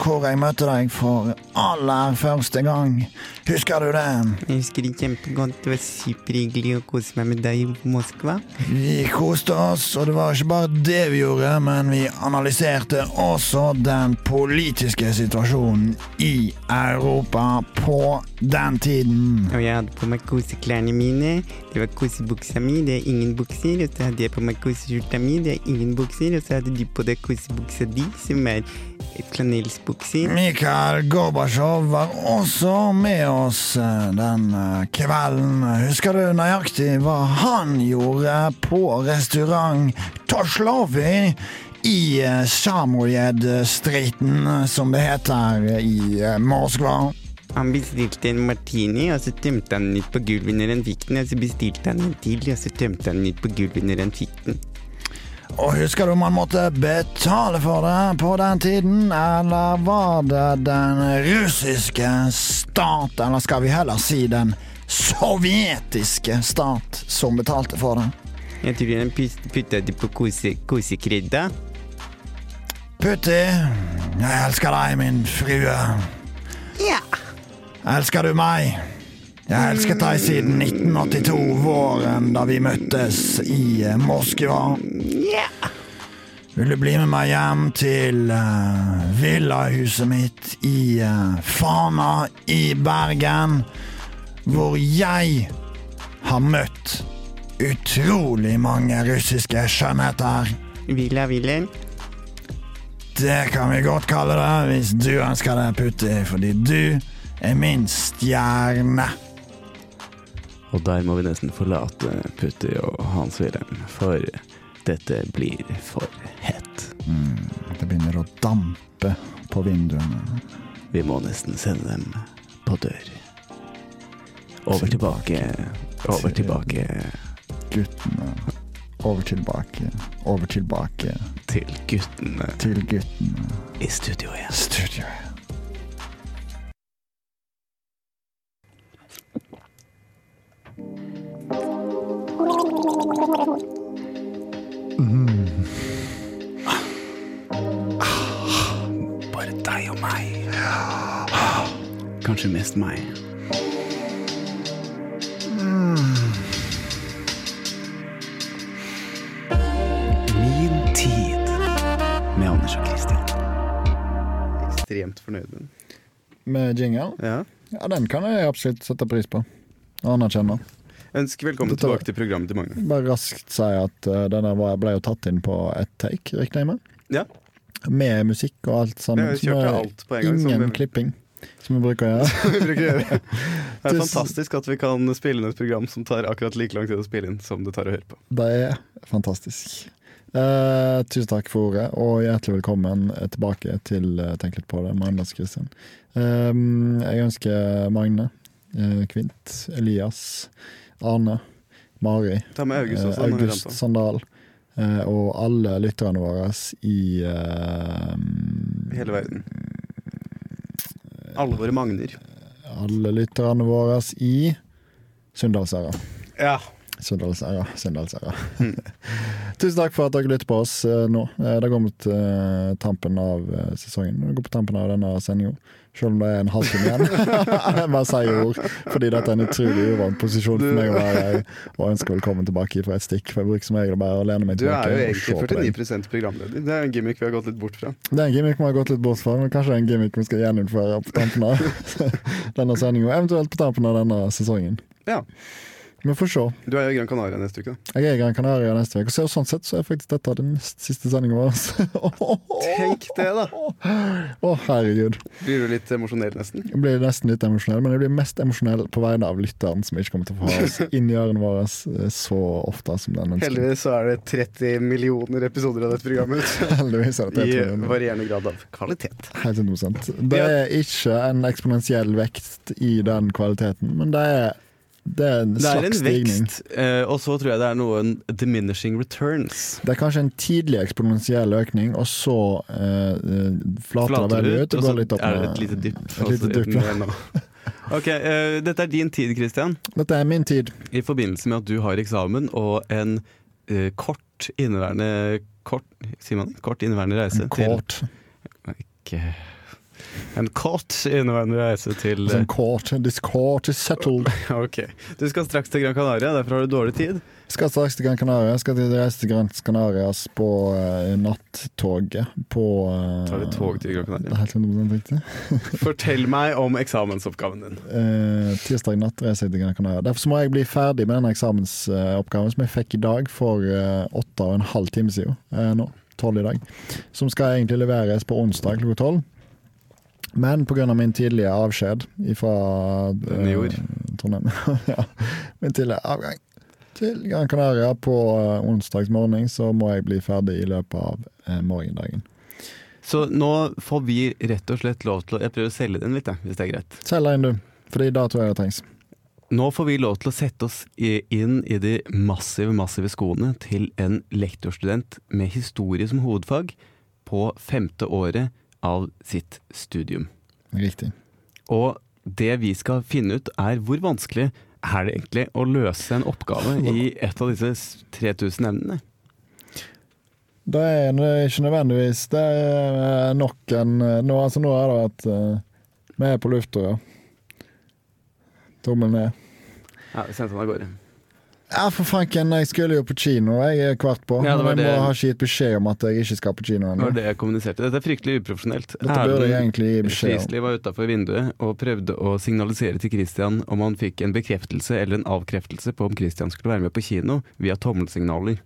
hvor jeg møtte deg for aller første gang. Husker du det?
Jeg husker det kjempegodt. Det var superhyggelig å kose meg med deg i Moskva.
Vi koste oss, og det var ikke bare det vi gjorde, men vi analyserte også den politiske situasjonen i Europa på den tiden.
Og jeg hadde på meg koseklærne mine. Det var kosebuksa mi, det er ingen bukser. Og så hadde jeg på meg koseskjorta mi, det er ingen bukser. Og så hadde du på deg kosebuksa di, som er et flanellsbukser.
Mikhail Gorbatsjov var også med oss eh, den eh, kvelden. Husker du nøyaktig hva han gjorde på restaurant Toslovi i eh, Samojed-streeten, som det heter eh, i eh, Moskva?
Han bestilte en martini, og så tømte han den ut på gulvet når han fikk den. Og så bestilte han en til, og så tømte han den ut på gulvet når han fikk den.
Og husker du om han måtte betale for det på den tiden, eller var det den russiske stat, eller skal vi heller si den sovjetiske stat, som betalte for det?
Jeg tror han pust- putta det på kose, kosekredda.
Putti, jeg elsker deg, min frue.
Ja.
Elsker du meg? Jeg har elsket deg siden 1982, våren da vi møttes i eh, Moskva.
Ja.
Vil du bli med meg hjem til eh, villahuset mitt i eh, Fana i Bergen, hvor jeg har møtt utrolig mange russiske skjønnheter?
Villa Wilhelm.
Det kan vi godt kalle det, hvis du ønsker det, Putti, fordi du er min stjerne.
Og der må vi nesten forlate Putti og Hans-Wilhelm, for dette blir for hett.
Mm, Det begynner å dampe på vinduene.
Vi må nesten sende dem på dør. Over tilbake, over tilbake
Guttene over tilbake, over tilbake
til guttene
til guttene.
i studio igjen.
Studioet.
Bare deg og meg. Kanskje mest meg. Min tid med Anders og Christian.
Ekstremt fornøyd med den.
Med jingle?
Ja.
Ja, den kan jeg absolutt sette pris på. Anerkjenne.
Ønsker velkommen
Dette var-
tilbake til programmet til Magne.
Bare raskt si at eh, denne var, ble jo tatt inn på ett take, regner jeg med.
Ja.
Med musikk og alt sammen.
Jeg kjørte alt på en gang. som
ingen
vi-
klipping, som vi bruker å gjøre.
vi bruker å gjøre. Det er
Tusen-
fantastisk at vi kan spille inn et program som tar akkurat like lang tid å spille inn som det tar å høre på.
Det er fantastisk. Eh, tusen takk for ordet, og hjertelig velkommen tilbake til eh, Tenk litt på det med Anders Christian. Eh, jeg ønsker Magne, eh, Kvint, Elias, Arne, Mari,
Ta med August
Eh,
også. når vi
August
ramper.
Sandal eh, og alle lytterne våre i eh,
I hele verden. Alle våre Magner.
Alle lytterne våre i Sunndalsæra.
Ja.
Sunndalsæra, Sunndalsæra.
Mm.
Tusen takk for at dere lytter på oss eh, nå. Eh, Det går mot eh, tampen av eh, sesongen. Det går på tampen av denne sendinga. Selv om det er en halvtime igjen. Jeg Bare sier ord, fordi dette er en utrolig uvant posisjon for meg å være i. Og ønsker velkommen tilbake fra et stikk, for jeg bruker som regel bare å lene meg
Du er
tilbake.
jo
og se på deg.
egentlig 49 programleder. Det er en gimmick vi har gått litt bort fra.
Det er en gimmick vi har gått litt bort fra, men kanskje det er en gimmick vi skal gjeninnføre på tampen av denne sendingen, og eventuelt på tampen av denne sesongen.
Ja.
Vi får se.
Du er jo i Gran Canaria neste uke, da.
Jeg er i Gran Canaria neste uke, og så- sånn sett så er faktisk dette den nest siste sendingen vår.
Tenk det, da!
Å, herregud.
Blir du litt emosjonell, nesten?
Jeg blir nesten litt emosjonell, men jeg blir mest emosjonell på vegne av lytteren, som ikke kommer til å få oss inn i ørene våre eh, så ofte som den ønsker.
Heldigvis så er det 30 millioner episoder av dette programmet.
Heldigvis er det
I
et
varierende grad av kvalitet.
Helt innocent. Det er ikke en eksponentiell vekst i den kvaliteten, men det er, det er en
Det er
slags
en
stigning.
vekst, eh, og så tror jeg det er noen diminishing returns.
Det er kanskje en tidlig eksponentiell økning, og så eh, eh, flater det veldig ut. Og
og så
går litt opp
er det
med-
et lite dypp. altså
Et lite dypp, ja.
Ok, eh, Dette er din tid, Christian.
Dette er min tid.
I forbindelse med at du har eksamen og en eh, kort inneværende Kort, sier man det? Kort inneværende reise
Kort.
til Ikke- En kort inneværende reise til eh,
Som kort. This court is settled.
Ok. Du skal straks til Gran Canaria, derfor har du dårlig tid.
Skal straks til Gran Canaria. Skal til reise til Gran Canarias på eh, nattoget på eh,
Tar du tog til Gran
Det er
Canaria?
helt 100% riktig.
Fortell meg om eksamensoppgaven din.
Eh, tirsdag natt reiser jeg til Gran Canaria. Derfor så må jeg bli ferdig med denne eksamensoppgaven som jeg fikk i dag for eh, åtte og en halv time siden. Eh, nå, tolv i dag. Som skal egentlig leveres på onsdag klokka tolv. Men pga. min tidlige avskjed fra
Denne jord.
Trondheim ja. Min tidlige avgang til Gran Canaria på eh, onsdags morgen, så må jeg bli ferdig i løpet av eh, morgendagen.
Så nå får vi rett og slett lov til å Jeg prøver å selge den litt, jeg, hvis det er greit.
Selg deg inn, du. Fordi da tror jeg det trengs.
Nå får vi lov til å sette oss i- inn i de massive, massive skoene til en lektorstudent med historie som hovedfag på femte året av sitt studium.
Riktig.
Og det vi skal finne ut er hvor vanskelig er det egentlig å løse en oppgave i et av disse s- 3000 emnene.
Det er nø- ikke nødvendigvis Det er nok en nå, altså nå er det at eh, vi er på lufta, ja. Tommel ned.
Ja, vi sendte den av gårde.
Ja, for fanken, jeg skulle jo på kino. Jeg er kvart på.
Ja, det var
men jeg
det-
må ha ikke gitt beskjed om at jeg ikke skal på kino
Det var
ennå.
det jeg kommuniserte. Dette er fryktelig uprofesjonelt.
Dette burde jeg
Erlend
egentlig gi beskjed om.
Frisli var utafor vinduet og prøvde å signalisere til Christian om han fikk en bekreftelse eller en avkreftelse på om Christian skulle være med på kino via tommelsignaler.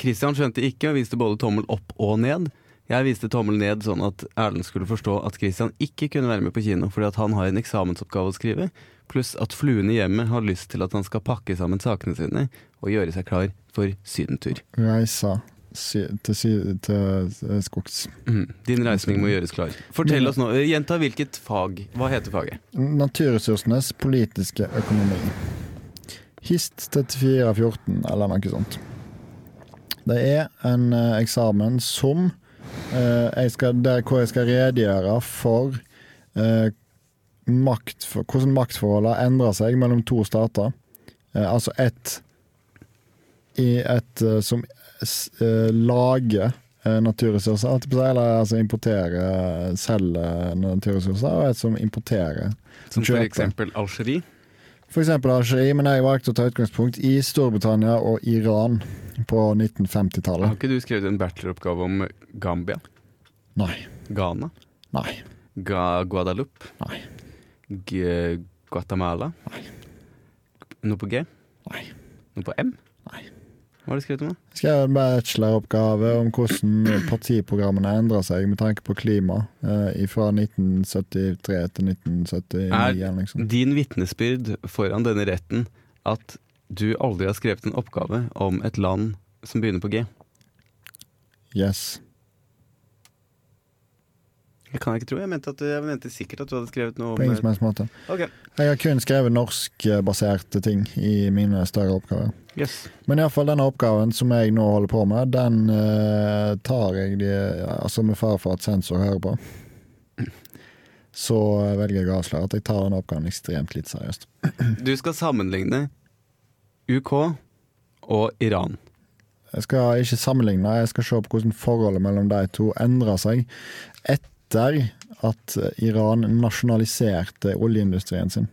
Christian skjønte ikke og viste både tommel opp og ned. Jeg viste tommel ned sånn at Erlend skulle forstå at Christian ikke kunne være med på kino fordi at han har en eksamensoppgave å skrive, pluss at fluen i hjemmet har lyst til at han skal pakke sammen sakene sine og gjøre seg klar for sydentur.
Reisa sy til, sy til eh, skogs.
Mm. Din reisning må gjøres klar. Fortell oss nå, eh, Gjenta hvilket fag. Hva heter faget?
Naturressursenes politiske økonomi. Hist 3414, eller noe sånt. Det er en eh, eksamen som eh, jeg skal, der hvor jeg skal redegjøre for, eh, makt, for hvordan maktforholdene endrer seg mellom to stater. Eh, altså ett i et eh, som s- eh, lager eh, naturressurser, holdt jeg på å si, eller altså importerer, selger naturressurser, og et som importerer
Som for
Kjøpe.
eksempel Algerie.
For eksempel Algerie, men jeg valgte å ta utgangspunkt i Storbritannia og Iran på
Har
1950-tallet.
ikke du skrevet en bacheloroppgave om Gambia?
Nei.
Ghana?
Nei.
Ga Guadalupe?
Nei.
G Guatemala? Noe på G?
Nei.
Noe på M?
Nei.
Hva har du skrevet om, da?
Skrev en bacheloroppgave om hvordan partiprogrammene endra seg med tanke på klima eh, fra 1973 til liksom. 1979. eller noe sånt.
Din vitnesbyrd foran denne retten at du aldri har skrevet en oppgave om et land som begynner på G.
Yes.
Det kan jeg ikke tro. Jeg mente, at, jeg mente sikkert at du hadde skrevet noe
På ingen som
om
helst måte.
Ok.
Jeg har kun skrevet norskbaserte ting i mine større oppgaver.
Yes.
Men iallfall denne oppgaven som jeg nå holder på med, den eh, tar jeg de, altså med fare for at sensor hører på. Så velger jeg å avsløre at jeg tar denne oppgaven ekstremt lite seriøst.
Du skal sammenligne UK og Iran.
Jeg skal ikke sammenligne, jeg skal se på hvordan forholdet mellom de to endra seg etter at Iran nasjonaliserte oljeindustrien sin.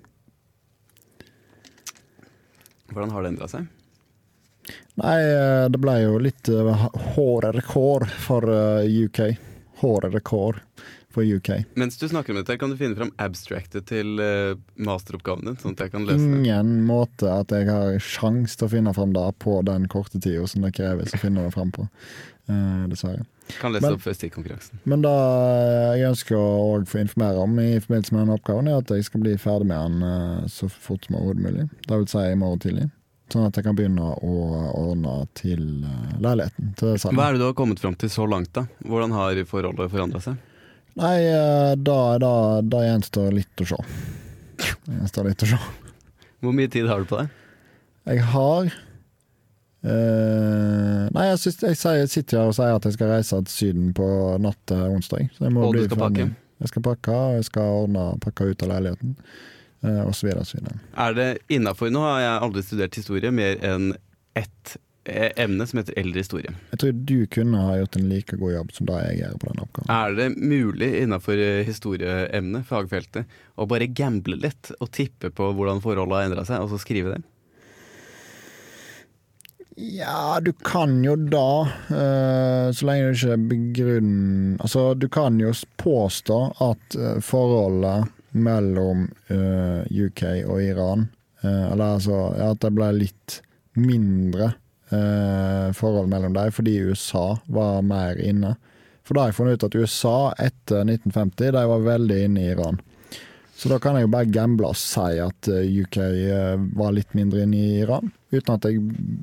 Hvordan har det endra seg?
Nei, eh, det ble jo litt eh, hårdere kår for eh, UK. Hårdere kår for UK.
Mens du snakker om dette, kan du finne fram abstractet til eh, masteroppgaven din? Sånn at jeg kan lese det.
Ingen måte at jeg har sjans til å finne fram det på den korte tida som det kreves å finne det fram på. Eh, dessverre.
Kan lese
Men-
opp før stikkonkurransen.
Men det jeg ønsker å også få informere om i forbindelse med denne oppgaven, er at jeg skal bli ferdig med den eh, så fort som overhodet mulig. Det vil si i morgen tidlig. Sånn at jeg kan begynne å ordne til eh, leiligheten. Til det
Hva er det du har kommet fram til så langt, da? Hvordan har forholdet forandra seg?
Nei, eh, da, da, da gjenstår litt å se. Det gjenstår litt å se.
Hvor mye tid har du på deg?
Jeg har eh, Nei, jeg, syns- jeg, sier- jeg sitter her og sier at jeg skal reise til Syden på natt til onsdag. Så jeg må
Og du
bli
skal
ferdig.
pakke?
Jeg skal pakke, og jeg skal ordne pakka ut av leiligheten. eh, Og så videre og så videre.
Er det innafor Nå har jeg aldri studert historie mer enn ett eh, emne som heter eldre historie.
Jeg tror du kunne ha gjort en like god jobb som det jeg gjør på den oppgaven.
Er det mulig innafor historieemnet, fagfeltet, å bare gamble litt og tippe på hvordan forholdet har endra seg, og så skrive det?
Ja, du kan jo da, eh, så lenge du ikke begrunner Altså, du kan jo påstå at eh, forholdet mellom eh, UK og Iran eh, Eller altså ja, at det ble litt mindre eh, forhold mellom dem fordi USA var mer inne. For da har jeg funnet ut at USA etter 1950 de var veldig inne i Iran. Så da kan jeg jo bare gamble og si at eh, UK eh, var litt mindre inne i Iran. Uten at jeg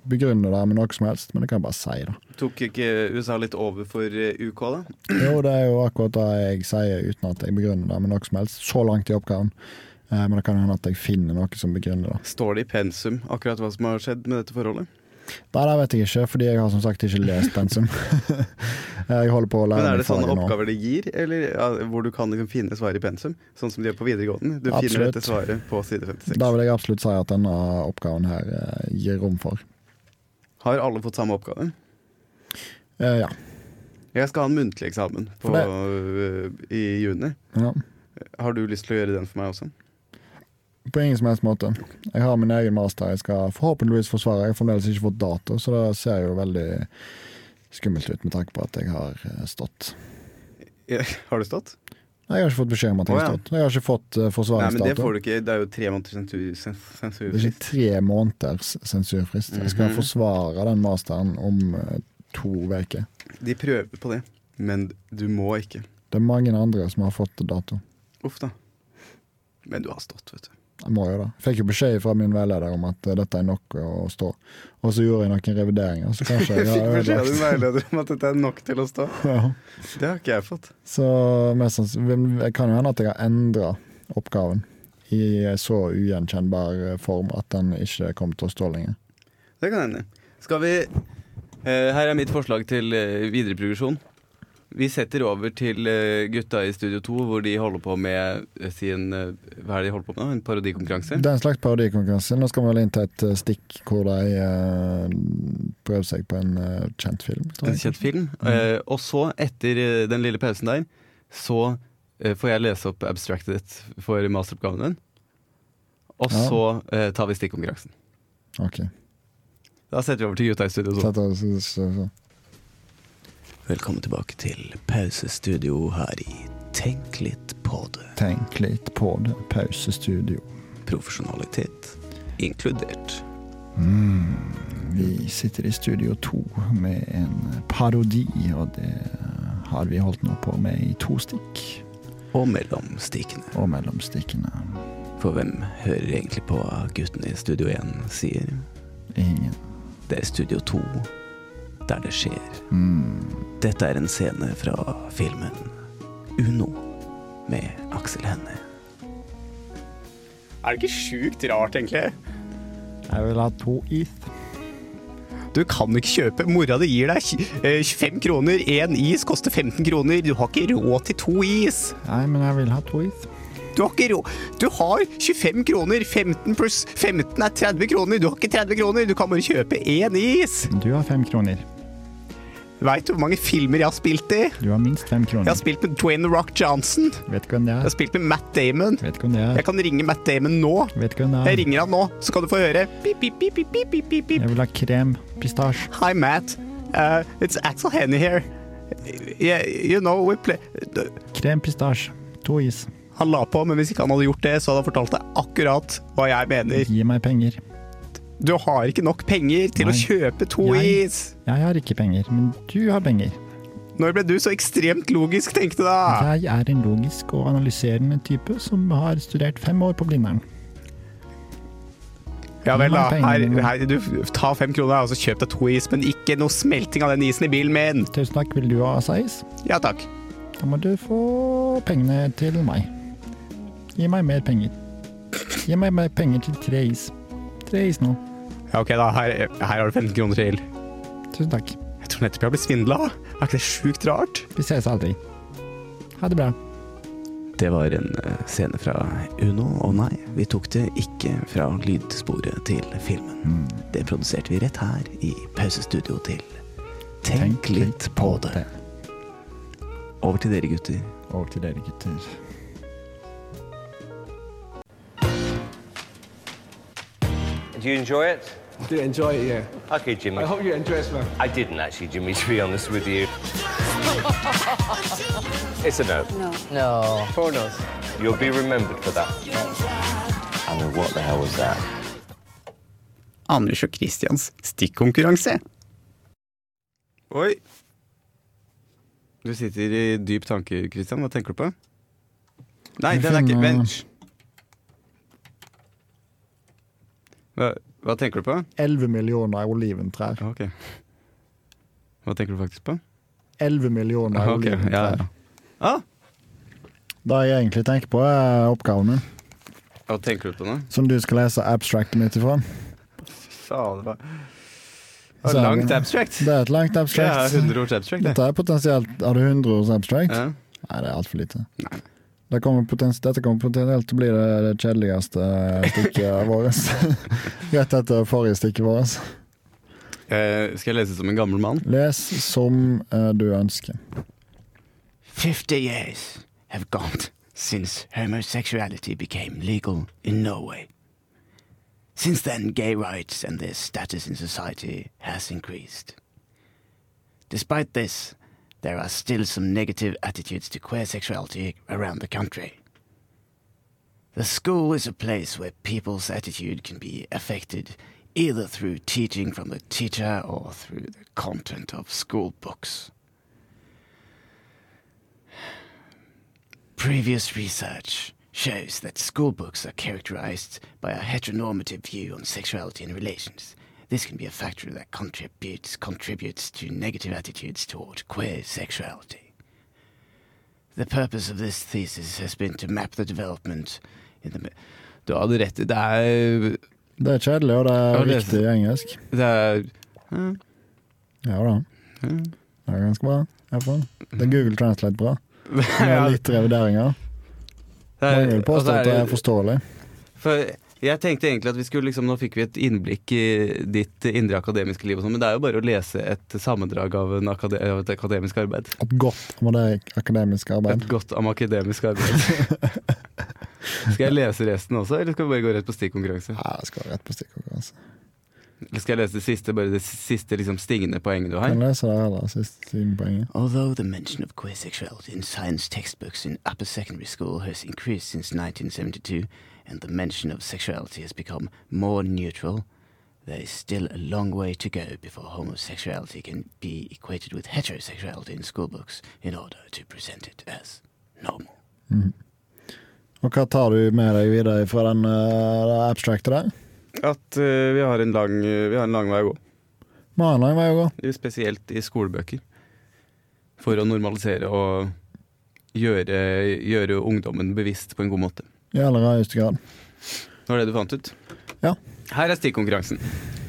begrunner det med noe som helst, men det kan jeg bare si, da.
Tok ikke USA litt over for eh, UK, da?
Jo, det er jo akkurat det jeg sier uten at jeg begrunner det med noe som helst. Så langt i oppgaven. Eh, Men det kan hende at jeg finner noe som begrunner det.
Står det i pensum akkurat hva som har skjedd med dette forholdet?
Nei, det vet jeg ikke, fordi jeg har som sagt ikke lest pensum. jeg holder på å
Men
lære
er
meg
det sånn sånne
faget nå.
oppgaver det gir, eller ja, hvor du kan liksom finne svaret i pensum? Sånn som de gjør på videregående. Du finner
Absolutt.
dette svaret på side 56.
Da vil jeg absolutt si at denne oppgaven her eh, gir rom for.
Har alle fått samme oppgave?
Eh, ja.
Jeg skal ha en muntlig eksamen på,
For
øh, i juni.
ja.
Har du lyst til å gjøre den for meg også?
På ingen som helst måte. Jeg har min egen master jeg skal forhåpentligvis forsvare. Jeg har fremdeles ikke fått dato, så det ser jo veldig skummelt ut med tanke på at jeg har eh, stått.
Har du stått?
Nei, Jeg har ikke fått beskjed om at jeg
Å,
har
ja.
stått. Jeg har ikke fått eh,
Nei, men Det
forsvaringsdato.
får du ikke. Det er jo tre måneder sensur- sens-
Det er
sensurfrist.
ikke tre måneders sensurfrist. Jeg
Mhm.
skal forsvare den masteren om eh, to uker.
De prøver på det, men du må ikke.
Det er mange andre som har fått dato.
Uff da. Men du har stått, vet du.
Jeg må jo det. Jeg fikk jo beskjed fra min veileder om at eh, dette er nok å stå. Og så gjorde jeg noen revideringer, så kanskje
Jeg
jeg
fikk
har
beskjed av din
ødelagt.
veileder om at dette er nok til å stå.
Ja.
Det har ikke jeg fått.
Så mest sannsynlig Det kan jo hende at jeg har endra oppgaven i så ugjenkjennbar eh, form at den ikke kom til å stå lenger.
Det kan hende. Skal vi eh, Her er mitt forslag til eh, videre progresjon. Vi setter over til eh, gutta i Studio 2, hvor de holder på med eh, sin eh, Hva er det de holder på med nå? En parodikonkurranse?
Det er en slags parodikonkurranse. Nå skal vi vel inn til et eh, stikk hvor de eh, prøver seg på en eh, kjent film. tror
En
jeg.
kjent film. Eh, og så, etter eh, den lille pausen der, så eh, får jeg lese opp abstracted for masteroppgaven din. Og
Ja.
så eh, tar vi stikkonkurransen.
Ok.
Da setter vi over til gutta i Studio 2.
Sett deg- så- så- så.
Velkommen tilbake til pausestudio her i Tenk litt på det.
Tenk litt på det. Pausestudio.
Profesjonalitet.
inkludert.
Mm, Vi sitter i Studio 2 med en parodi, og det har vi holdt nå på med i to stikk.
Og mellom stikkene.
Og mellom stikkene
For hvem hører egentlig på hva guttene i Studio 1 sier?
ingen.
Det er Studio 2, der det skjer.
Mm.
Dette er en scene fra filmen Uno med Aksel Hennie.
Er det ikke sjukt rart, egentlig?
Jeg vil ha to is.
Du kan ikke kjøpe. Mora di gir deg tj- eh, 25 kroner. Én is koster 15 kroner. Du har ikke råd til to is.
Nei, men jeg vil ha to is.
Du har ikke råd Du har 25 kroner. 15 pluss 15 er 30 kroner. Du har ikke 30 kroner. Du kan bare kjøpe én is.
Du har fem kroner.
Veit du hvor mange filmer jeg har spilt i?
Du har minst fem
Jeg
kroner.
har spilt med Dwayne The Rock Johnson. Jeg
Vet ikke hvem det
har
er.
spilt med Matt Damon.
Vet ikke hvem det
Jeg
er.
kan ringe Matt Damon nå.
Vet ikke hvem det
Jeg
er.
ringer han nå, så kan du få høre. Pip, pip, pip, pip, pip, pip, pip.
Jeg vil ha krem pistasje.
Hi, Matt. Uh, it's Axel Hennie here. Yeah, you know, we play...
Krem pistasje. To is.
Han la på, men hvis ikke han hadde gjort det, så hadde han fortalt deg akkurat hva jeg mener.
Gi meg penger.
Du har ikke nok penger til
Nei.
å kjøpe to
Jeg-
is.
Jeg har ikke penger, men du har penger.
Når ble du så ekstremt logisk, tenkte du da?
Jeg er en logisk og analyserende type som har studert fem år på Blindern.
Ja vel, da.
Gi meg
Her,
pengene.
her, du, ta fem kroner og så kjøp deg to is, men ikke noe smelting av den isen i bilen min.
Tusen takk, vil du ha saiz?
Ja takk.
Da må du få pengene til meg. Gi meg mer penger. Gi meg mer penger til tre is. Tre is nå.
Ja, ok, da. Her, her har du 15 kroner til.
Tusen takk.
Jeg tror nettopp jeg har blitt svindla. Er ikke det sjukt rart?
Vi ses aldri. Ha det bra.
Det var en eh, scene fra Uno, og nei, vi tok det ikke fra lydsporet til filmen. Det produserte vi rett her i pausestudio til Tenk, litt på det. Over til dere, gutter.
Og til dere, gutter.
Do you enjoy it?
do enjoy it, yeah.
Okay, Jimmy.
I hope you enjoy it, man.
I didn't actually, Jimmy, to be honest with you. it's a no. No. No. Four no's. You'll be remembered for that. I mean, what the hell was that?
Anders og Christians stikkonkurranse.
Oi! Du sitter i dyp tanke, Christian. Hva tenker du på? Nei,
Jeg
den er ikke
finner-
Vent. Hva, hva tenker du på?
11 millioner oliventrær.
Ok. Hva tenker du faktisk på?
11 millioner
Ah, ok. Ja,
oliventrær.
ja. Ah,
Det jeg egentlig tenker på, er oppgaven min,
hva tenker du på nå?
som du skal lese abstracten ut ifra.
Faen, det var
Så
det
er
var langt
vi-
abstract.
Det er et langt
Det er
abstract.
100 års abstract, det.
Dette er potensielt Har du 100 års abstract?
Ja.
Nei, det er altfor lite. Det kommer potens dette kommer potensielt til å bli det, det kjedeligste eh, stykket vårt. Rett etter forrige stikket vårt.
Eh, skal jeg lese som en gammel mann?
Les som eh, du ønsker.
50 years have gone since homosexuality became legal in Norway. Since then, gay rights and their status in society has increased. Despite this, there are still some negative attitudes to queer sexuality around the country. The school is a place where people's attitude can be affected either through teaching from the teacher or through the content of school books. Previous research shows that school books are characterized by a heteronormative view on sexuality and relations. This can be a factor that contributes contributes to negative attitudes toward queer sexuality. The purpose of this thesis has been to map the development in the
Du hadde rett. Det er
Det er kjedelig, og det
Ja,
er
det-
riktig engelsk.
Det er
Ja da. Det er ganske bra. Iallfall. Det er Google Translate bra. Det er
Ja,
litt revideringer.
det
Jeg
er-
vil påstå
altså,
at det er forståelig.
For jeg tenkte egentlig at vi skulle liksom, Nå fikk vi et innblikk i ditt indre akademiske liv, og sånn, men det er jo bare å lese et sammendrag av, en akade av et akademisk arbeid.
Et godt med det akademiske
Et
arbeid.
godt am akademisk arbeid. skal jeg lese resten også, eller skal vi bare gå rett på stikkonkurranse?
Ja, det skal være rett på altså. stikkordet.
Eller skal jeg lese det siste, bare det siste liksom, stingende poenget du har?
Kan lese det heller, siste siden poenget.
Although the mention of queer sexuality in science textbooks in upper secondary school has increased since 1972,
and the mention of sexuality has become more neutral, there is still a long way to go before homosexuality can be equated with heterosexuality in schoolbooks in order to present it as normal.
Mm. Og hva tar du med deg videre fra den uh, abstracte der?
At eh, vi, har en lang, vi har en lang vei å gå.
Vi har en lang vei å gå.
Spesielt i skolebøker. For å normalisere og gjøre, gjøre ungdommen bevisst på en god måte.
I aller høyeste grad.
Det var det du fant ut?
Ja.
Her er stikkonkurransen.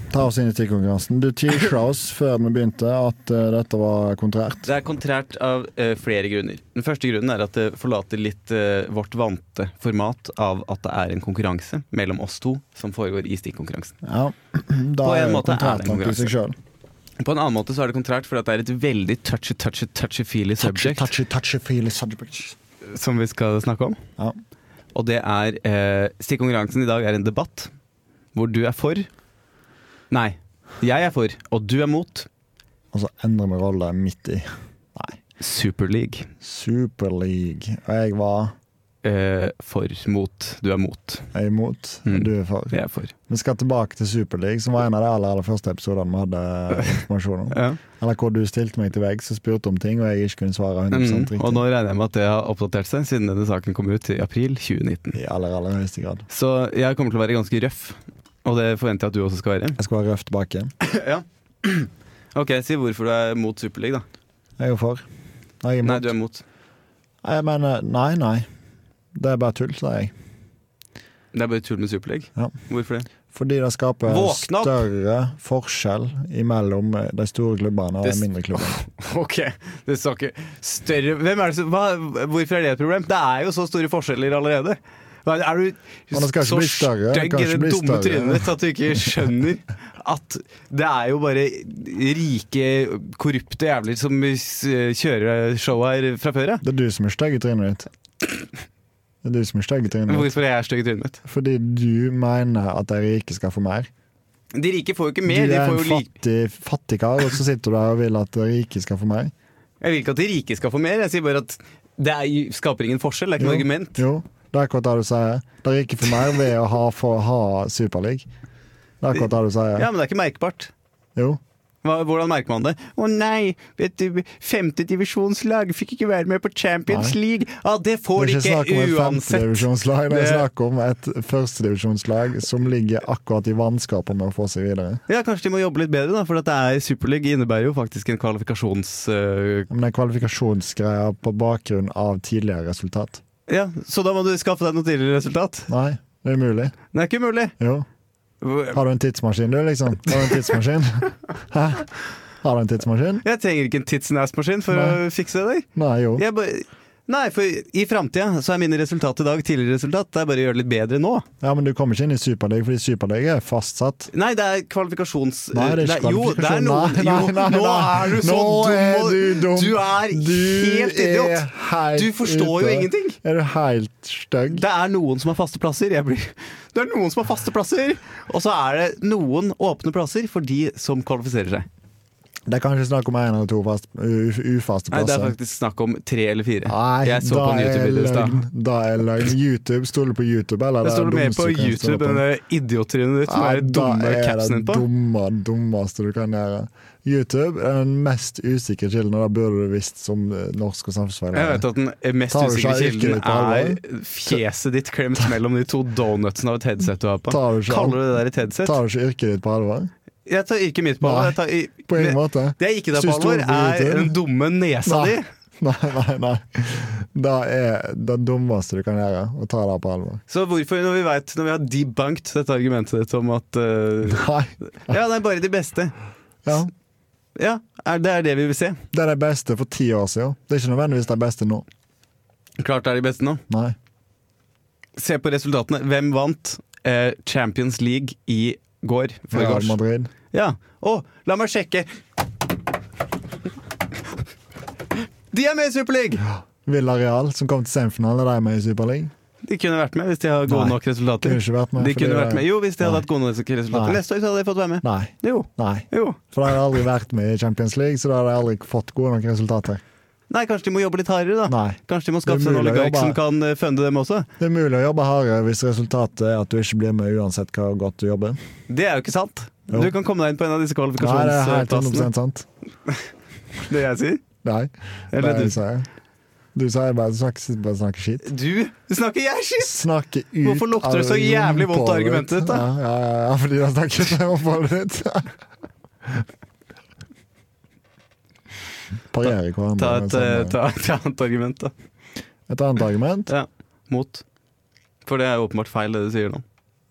Ta oss inn i TIL-konkurransen. Du teacha oss før vi begynte at eh, dette var kontrært.
Det er kontrært av eh, flere grunner. Den første grunnen er at det forlater litt eh, vårt vante format av at det er en konkurranse mellom oss to som foregår i stikkonkurransen.
Ja. Da
På en
er jo
måte er
kontrært nok
det
i
konkurranse.
seg sjøl.
På en annen måte så er det kontrært fordi at det er et veldig touchy, touchy, touchy-feely subject
Touchy, touchy, feely subject.
som vi skal snakke om.
Ja.
Og det er eh, Stikkonkurransen i dag er en debatt hvor du er for Nei, jeg er for, og du er mot
Og så endrer vi rolle midt i.
Superleague.
Superleague. Og jeg var
Eh, for, mot, du er mot.
jeg er imot,
Mm.
og du er for.
Jeg er for.
Vi skal tilbake til Superleague, som var en av de aller, aller første episodene vi hadde informasjon om.
Ja.
Eller hvor du stilte meg til veggs og spurte om ting, og jeg ikke kunne svare 100
Mm,
riktig.
og nå regner jeg med at det har oppdatert seg siden denne saken kom ut i april 2019.
I aller, aller høyeste grad.
Så jeg kommer til å være ganske røff, og det forventer jeg at du også skal være.
Jeg skal være røff tilbake.
ja. Ok, si hvorfor du er mot Superliga, da.
Jeg er jo for. Nei, Jeg er
Nei,
imot.
du er mot.
Jeg mener nei, nei. Det er bare tull, sa jeg.
Det er bare tull med Superliga.
Ja.
Hvorfor det?
Fordi det skaper
Våkne opp!
større forskjell mellom de store klubbene og
Det
de
s-
mindre klubbene.
Ok, det sa ikke større Hvem er det som hva, Hvorfor er det et problem? Det er jo så store forskjeller allerede. Hva- Er du
Men det skal ikke
så
bli større, det
stygg
kan
i
ikke
det
bli
dumme
større.
trynet ditt at du ikke skjønner at det er jo bare rike, korrupte jævler som s- kjører showet her fra før av?
Det er du som er stygg i trynet ditt. Det er du som er stygg i trynet ditt.
Hvorfor er jeg stygg i trynet mitt?
Fordi du mener at de rike skal få mer.
De rike får jo ikke
Du
mer.
er
De
en
får jo li
fattig, fattig kar, og så sitter du der og vil at de rike skal få mer.
jeg vil ikke at de rike skal få mer, jeg sier bare at det er, skaper ingen forskjell. Det er ikke
Jo.
noe argument.
Jo, det er akkurat det du sier. De rike får mer ved å ha, få ha Superliga. Det er akkurat det du sier.
Ja, men det er ikke merkbart.
Jo.
Hva, hvordan merker man det? Å nei, vet du, femtedivisjonslag fikk ikke være med på Champions
Nei.
League. Ja, det får
Det
de
er ikke snakk
ikke
om et
uansett.
femtedivisjonslag, det er
Det-
snakk om et førstedivisjonslag som ligger akkurat i vanskapet med å få seg videre.
Ja, Kanskje de må jobbe litt bedre, da, for at det er Superleague innebærer jo faktisk en kvalifikasjons... øh,
Men det er kvalifikasjonsgreier på bakgrunn av tidligere resultat.
ja, Så da må du skaffe deg noe tidligere resultat.
Nei, det er umulig.
Det er ikke umulig.
Jo. Har du en tidsmaskin, du, liksom? Har du en tidsmaskin? Hæ? Har du en tidsmaskin?
Jeg trenger ikke en titsen-ass-maskin for
Nei.
å fikse det.
Nei, jo.
Jeg bare... Nei, for i framtida så er mine resultat i dag tidligere resultat. Det er bare å gjøre det litt bedre nå.
Ja, men du kommer ikke inn i Superliga, fordi Superliga er fastsatt.
Nei, det er kvalifikasjons...
Nei, det er ikke
Jo, det er
kvalifikasjon.
noen
Nei, nei, nei,
Jo, nå
nei.
er du så
Nå
dum!
er
og-
du dum.
Du er
er
helt idiot!
helt
Du forstår jo
ute.
ingenting.
Er du helt stygg?
Det er noen som har faste plasser. Jeg blir... Det er noen som har faste plasser, og så er det noen åpne plasser for de som kvalifiserer seg.
Det er kanskje snakk om én eller to fast, u, ufaste
Nei, det er
plasser.
faktisk snakk om tre eller fire.
Altså. Nei,
jeg så
da
på en
er
YouTube-video i stad.
løgn. Da er løgn. YouTube, Stoler du på YouTube, eller?
Det står
er det
mer på
dummeste du kan stole
YouTube enn det idiottrynet ditt som
Nei,
er det dumme
da er
capsen
det
din på.
dumme, dummeste du kan gjøre. YouTube er den mest usikre kilden, og det burde du visst som eh, norsk og samfunnsfaglærer.
Jeg vet at den mest
Tar du
usikre
seg yrket
kilden
litt på
er
alvor?
fjeset ditt klemt mellom de to donutsene av et headset du har på.
Tar du seg-
Kaller du det der et headset?
Tar du ikke yrket ditt på alvor?
Jeg tar ikke mitt på
Nei,
alvor. Jeg tar i-
På ingen
Men-
måte.
Det jeg ikke tar på
Syns du
alvor,
det er
er
irriterende?
den dumme nesa di.
Nei. Nei, nei, nei. Det er det dummeste du kan gjøre, å ta det på alvor.
Så hvorfor, når vi vet, når vi har debunked dette argumentet ditt om at eh,
Nei.
Ja, det er bare de beste.
Ja.
Ja, er, det er det vi vil se.
Det er det beste for ti år siden. Det er ikke nødvendigvis det beste nå.
Klart det er de beste nå.
Nei.
Se på resultatene. Hvem vant eh, Champions League i går?
Real
Foregårs.
Madrid.
Ja. Å, la meg sjekke. De er med i Superliga!
Villarreal, som kom til semifinalen, er de med i Superliga?
De kunne vært med hvis de har gode
Nei,
nok resultater.
kunne ikke vært med,
de
fordi
kunne
det-
vært med. Jo, hvis de hadde
Nei.
hatt gode nok resultater.
Nei.
Neste år så hadde de fått være med.
Nei.
Jo.
Nei.
Jo.
For de har aldri vært med i Champions League, så da har de aldri fått gode nok resultater.
Nei, kanskje de må jobbe litt hardere, da.
Nei.
Kanskje de må
Det
skaffe
er
seg en
mulig å
oligark
jobbe.
som kan eh, funde dem også.
Det er mulig å jobbe hardere hvis resultatet er at du ikke blir med uansett hvor godt du jobber.
Det er jo ikke sant.
Jo.
Du kan komme deg inn på en av disse
Nei, det
eh,
er helt 100
kvalifikasjonsplassene.
sant.
Det jeg sier.
Nei, det
Eller
er
du.
jeg sier. Du sier bare snakker, bare snakker skit.
Du snakker jeg skitt!
Snakke ut
Hvorfor lukter det så
av
jævlig vondt
rumpehullet
av argumentet ditt, da?
Ja, ja, ja, ja, fordi det snakker ikke om oppholdet ditt. Parerer hverandre.
Ta
med
et, eh,
sånn,
ta et annet argument, da.
et annet argument.
Ja. Mot. For det er jo åpenbart feil, det du sier nå.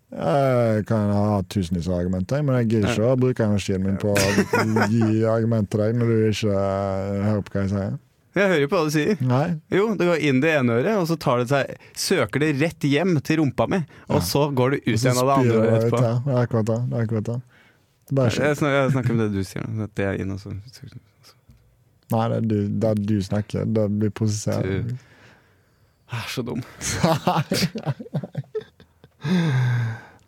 Jeg kan ha tusenvis av argumenter, men jeg gidder ikke å bruke energien min på å gi argument til deg når du ikke eh, hører på hva jeg sier.
Jeg hører jo på hva du sier.
Nei,
Jo, det går inn det ene øret, og så tar det seg, søker det rett hjem til rumpa mi. Og så går det ut
så
igjen av det andre
spyr
øret
det ut,
etterpå.
ja. Det er akkurat det. Det er akkurat det. Det er bare
Jeg
skit.
snakker, jeg snakker om det du sier nå. at Det er inn, og så
Nei, det er du, det er du snakker. Det blir prosessert.
Du- er så dum.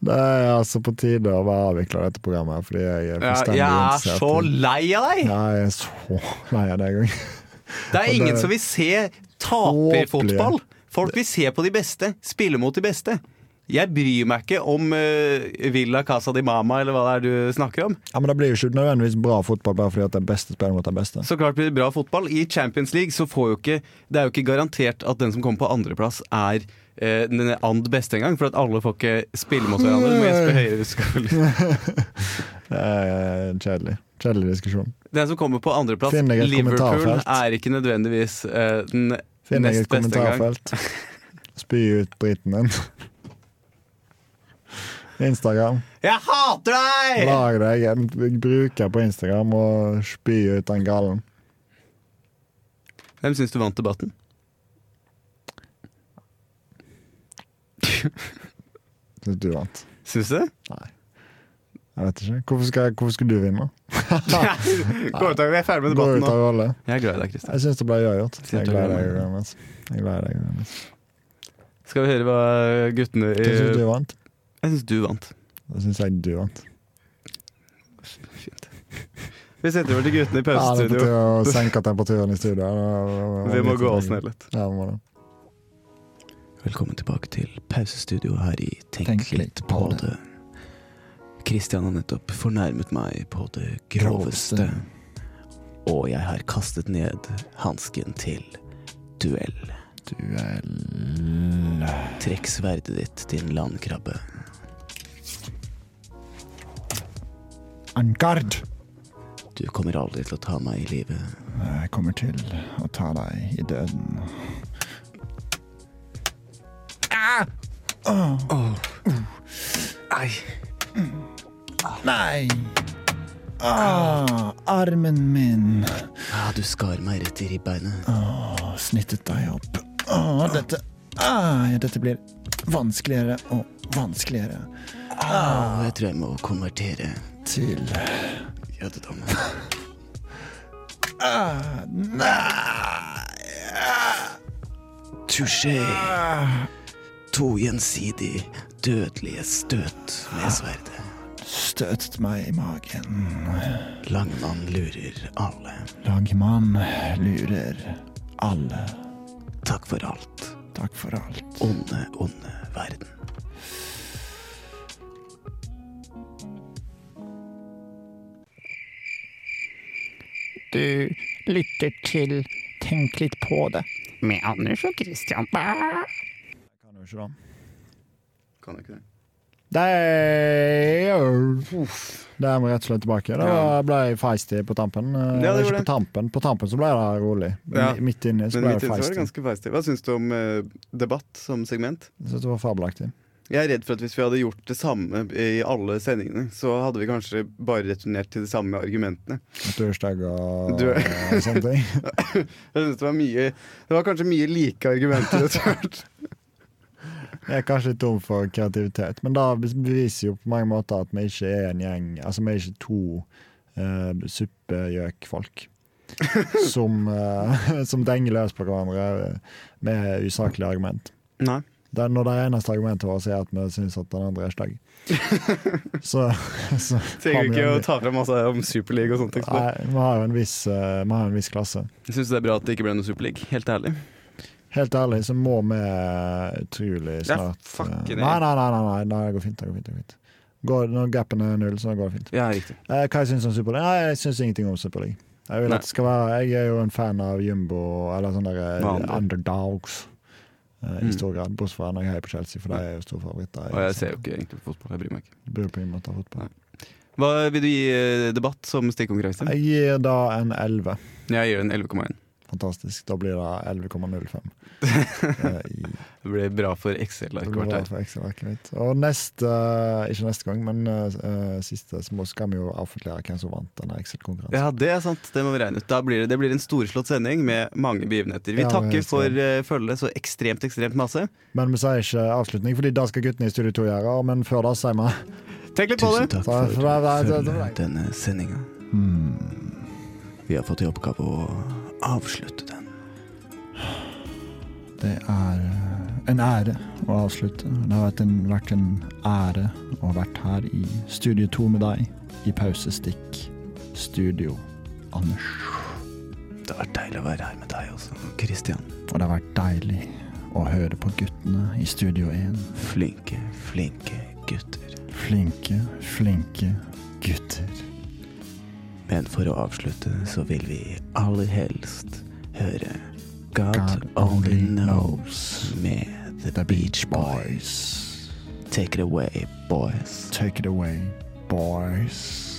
Det er altså på tide å være avvikla dette programmet, fordi jeg er
Ja,
fullstendig
jeg er
interessert
så
i-
lei av deg!
Ja, jeg er så lei av deg òg.
Det er
Og det
ingen
er-
som vil se
Håpelige.
taperfotball. Folk vil se på de beste, spille mot de beste. Jeg bryr meg ikke om eh, Villa Casa di Mama eller hva det er du snakker om.
Ja, men det blir jo ikke nødvendigvis bra fotball bare fordi at den beste spiller mot den beste.
Så klart blir det bra fotball. I Champions League så får jo ikke Det er jo ikke garantert at den som kommer på andreplass, er eh, den and beste engang. For at alle får ikke spille mot hverandre. Du må gjespe høyere skole.
Det er kjedelig. Kjedelig diskusjon.
Den som kommer på andreplass,
Finn deg et
Liverpool,
kommentarfelt.
er ikke nødvendigvis eh, den
Finn deg
nest
et
beste engang.
kommentarfelt. Spy ut driten din. Instagram.
Jeg hater deg!
Lag deg en bruker på Instagram og spy ut den gallen.
Hvem syns du vant debatten?
Syns du vant.
Syns du det?
Jeg vet ikke. Hvorfor, skal, hvorfor skulle du vinne?
Gå ut av, vi er ferdig med
Gå ut
debatten nå.
av rolle.
Jeg er glad i deg, Christian.
Jeg syns det ble uavgjort.
Synes
Jeg er
det ble
glad i deg,
uavgjort.
Johannes. Jeg er glad i deg, Johannes.
Skal vi høre hva guttene i
Jeg syns du vant.
Jeg syns du vant.
Da syns jeg du vant.
Fint. Vi setter over til guttene
Ja,
i
det er på
pausestudio.
tide å senke temperaturen i studio. Det var-
Vi må
litt-
gå oss ned litt.
Ja, vi må det.
Velkommen tilbake til pausestudio her i Tenk,
Tenk
litt på det. Kristian har nettopp fornærmet meg på det groveste. Og jeg har kastet ned hansken til duell. Duell Trekk sverdet ditt, din landkrabbe.
En gard!
Du kommer aldri til å ta meg i live.
Jeg kommer til å ta deg i døden.
Nei.
Nei! Ah, armen min
Ah, du skar meg rett i ribbeinet.
har snittet deg opp. Ah, dette ah, ja, Dette blir vanskeligere og vanskeligere
Og jeg tror jeg må konvertere
til
jødedom.
ah, Nei!
Touché. To gjensidig dødelige støt med sverdet.
Støtet meg i magen.
Langmann lurer alle.
Lagmann lurer alle.
Takk for alt.
Takk for alt.
Onde, onde verden.
Du lytter til Tenk litt på det. Med Anders og Christian.
Kan jo ikke det.
Kan jeg ikke det?
Det er vi rett og slett tilbake. Det var- ble feisty på tampen. Eh,
Ja, det
ikke
gjorde
på tampen. På tampen så ble det rolig.
Ja.
Mi- Midt inni så
Men
ble
mitt
det
inntrykk var
feisty.
ganske feistig. Hva syns du om eh, debatt som segment?
Jeg synes det var fabelaktig.
Jeg er redd for at hvis vi hadde gjort det samme i alle sendingene, så hadde vi kanskje bare returnert til de samme argumentene.
At du er stygg og,
Du-
og sånne ting.
Jeg synes det, var mye, det var kanskje mye like argumenter etter hvert.
Jeg er kanskje litt tom for kreativitet, men det beviser jo på mange måter at vi ikke er en gjeng Altså, vi er ikke to uh, suppegjøkfolk som, eh, som denger løs på hverandre med usaklige argument.
Nei.
Det, er når det eneste argumentet vårt er at vi syns at den andre er stygg. Så, så har
Trenger
vi
ikke
en-
å ta fram masse om Superleague og sånt. Nei.
Nei, vi har jo en viss, eh, vi har en viss klasse.
Syns du det er bra at det ikke ble noe Superleague? Helt ærlig.
Helt ærlig så må vi eh, utrolig
Ja,
snart
fuck
eh,
it.
nei, nei, nei, nei, nei, nei, det går fint. Det går fint, det går fint. Går, når gapen er null, så går det fint.
Ja, riktig.
Eh, hva jeg syns om Superliga? Nei, jeg syns ingenting om Superliga. Jeg, vil
Nei.
at det skal være, jeg er jo en fan av Jumbo, eller sånne der, eh,
Hva andre?
underdogs, eh, i
Mm.
stor grad. Bortsett fra når jeg heier på Chelsea, for de er jo store favoritter.
Og jeg ser jo ikke egentlig på fotball. Jeg bryr meg ikke.
Burde på ingen måte ha fotball.
Nei. Hva Vil du gi eh, debatt som stikkonkurranse?
Jeg gir da en 11.
Jeg gir en 11,1.
Fantastisk. Da blir det 11,05. eh, i-
Det blir bra for
det blir
Excel-arket vårt
bra
her.
for Excel-arket mitt. Og neste, ikke neste gang, men eh, siste, så må- skal vi jo offentliggjøre hvem som vant denne Excel-konkurransen.
Ja, det er sant. Det må vi regne ut. Da blir det, det blir en storslått sending med mange begivenheter. Vi
Ja,
takker
helt
for uh, følget så ekstremt, ekstremt masse.
Men vi sier ikke avslutning, fordi det skal guttene i Studio 2 gjøre. Men før det sier vi
Tenk litt på det!
Tusen takk
Takk
for
for
at
at
du
du
følger
følger
denne sendinga.
Hmm.
Vi har fått i oppgave å avslutte den.
Det er eh, en ære å avslutte. Det har vært en, vært en ære å ha vært her i Studio 2 med deg i pausestikk Studio Anders.
Det har vært deilig å være her med deg også, Christian.
Og det har vært deilig å høre på guttene i Studio 1.
Flinke, flinke gutter.
Flinke, flinke gutter.
Men for å avslutte så vil vi aller helst høre God,
God
Only
Only
Knows med The,
The
Beach
Beach
Boys. Take it away, boys.
Take it away, boys.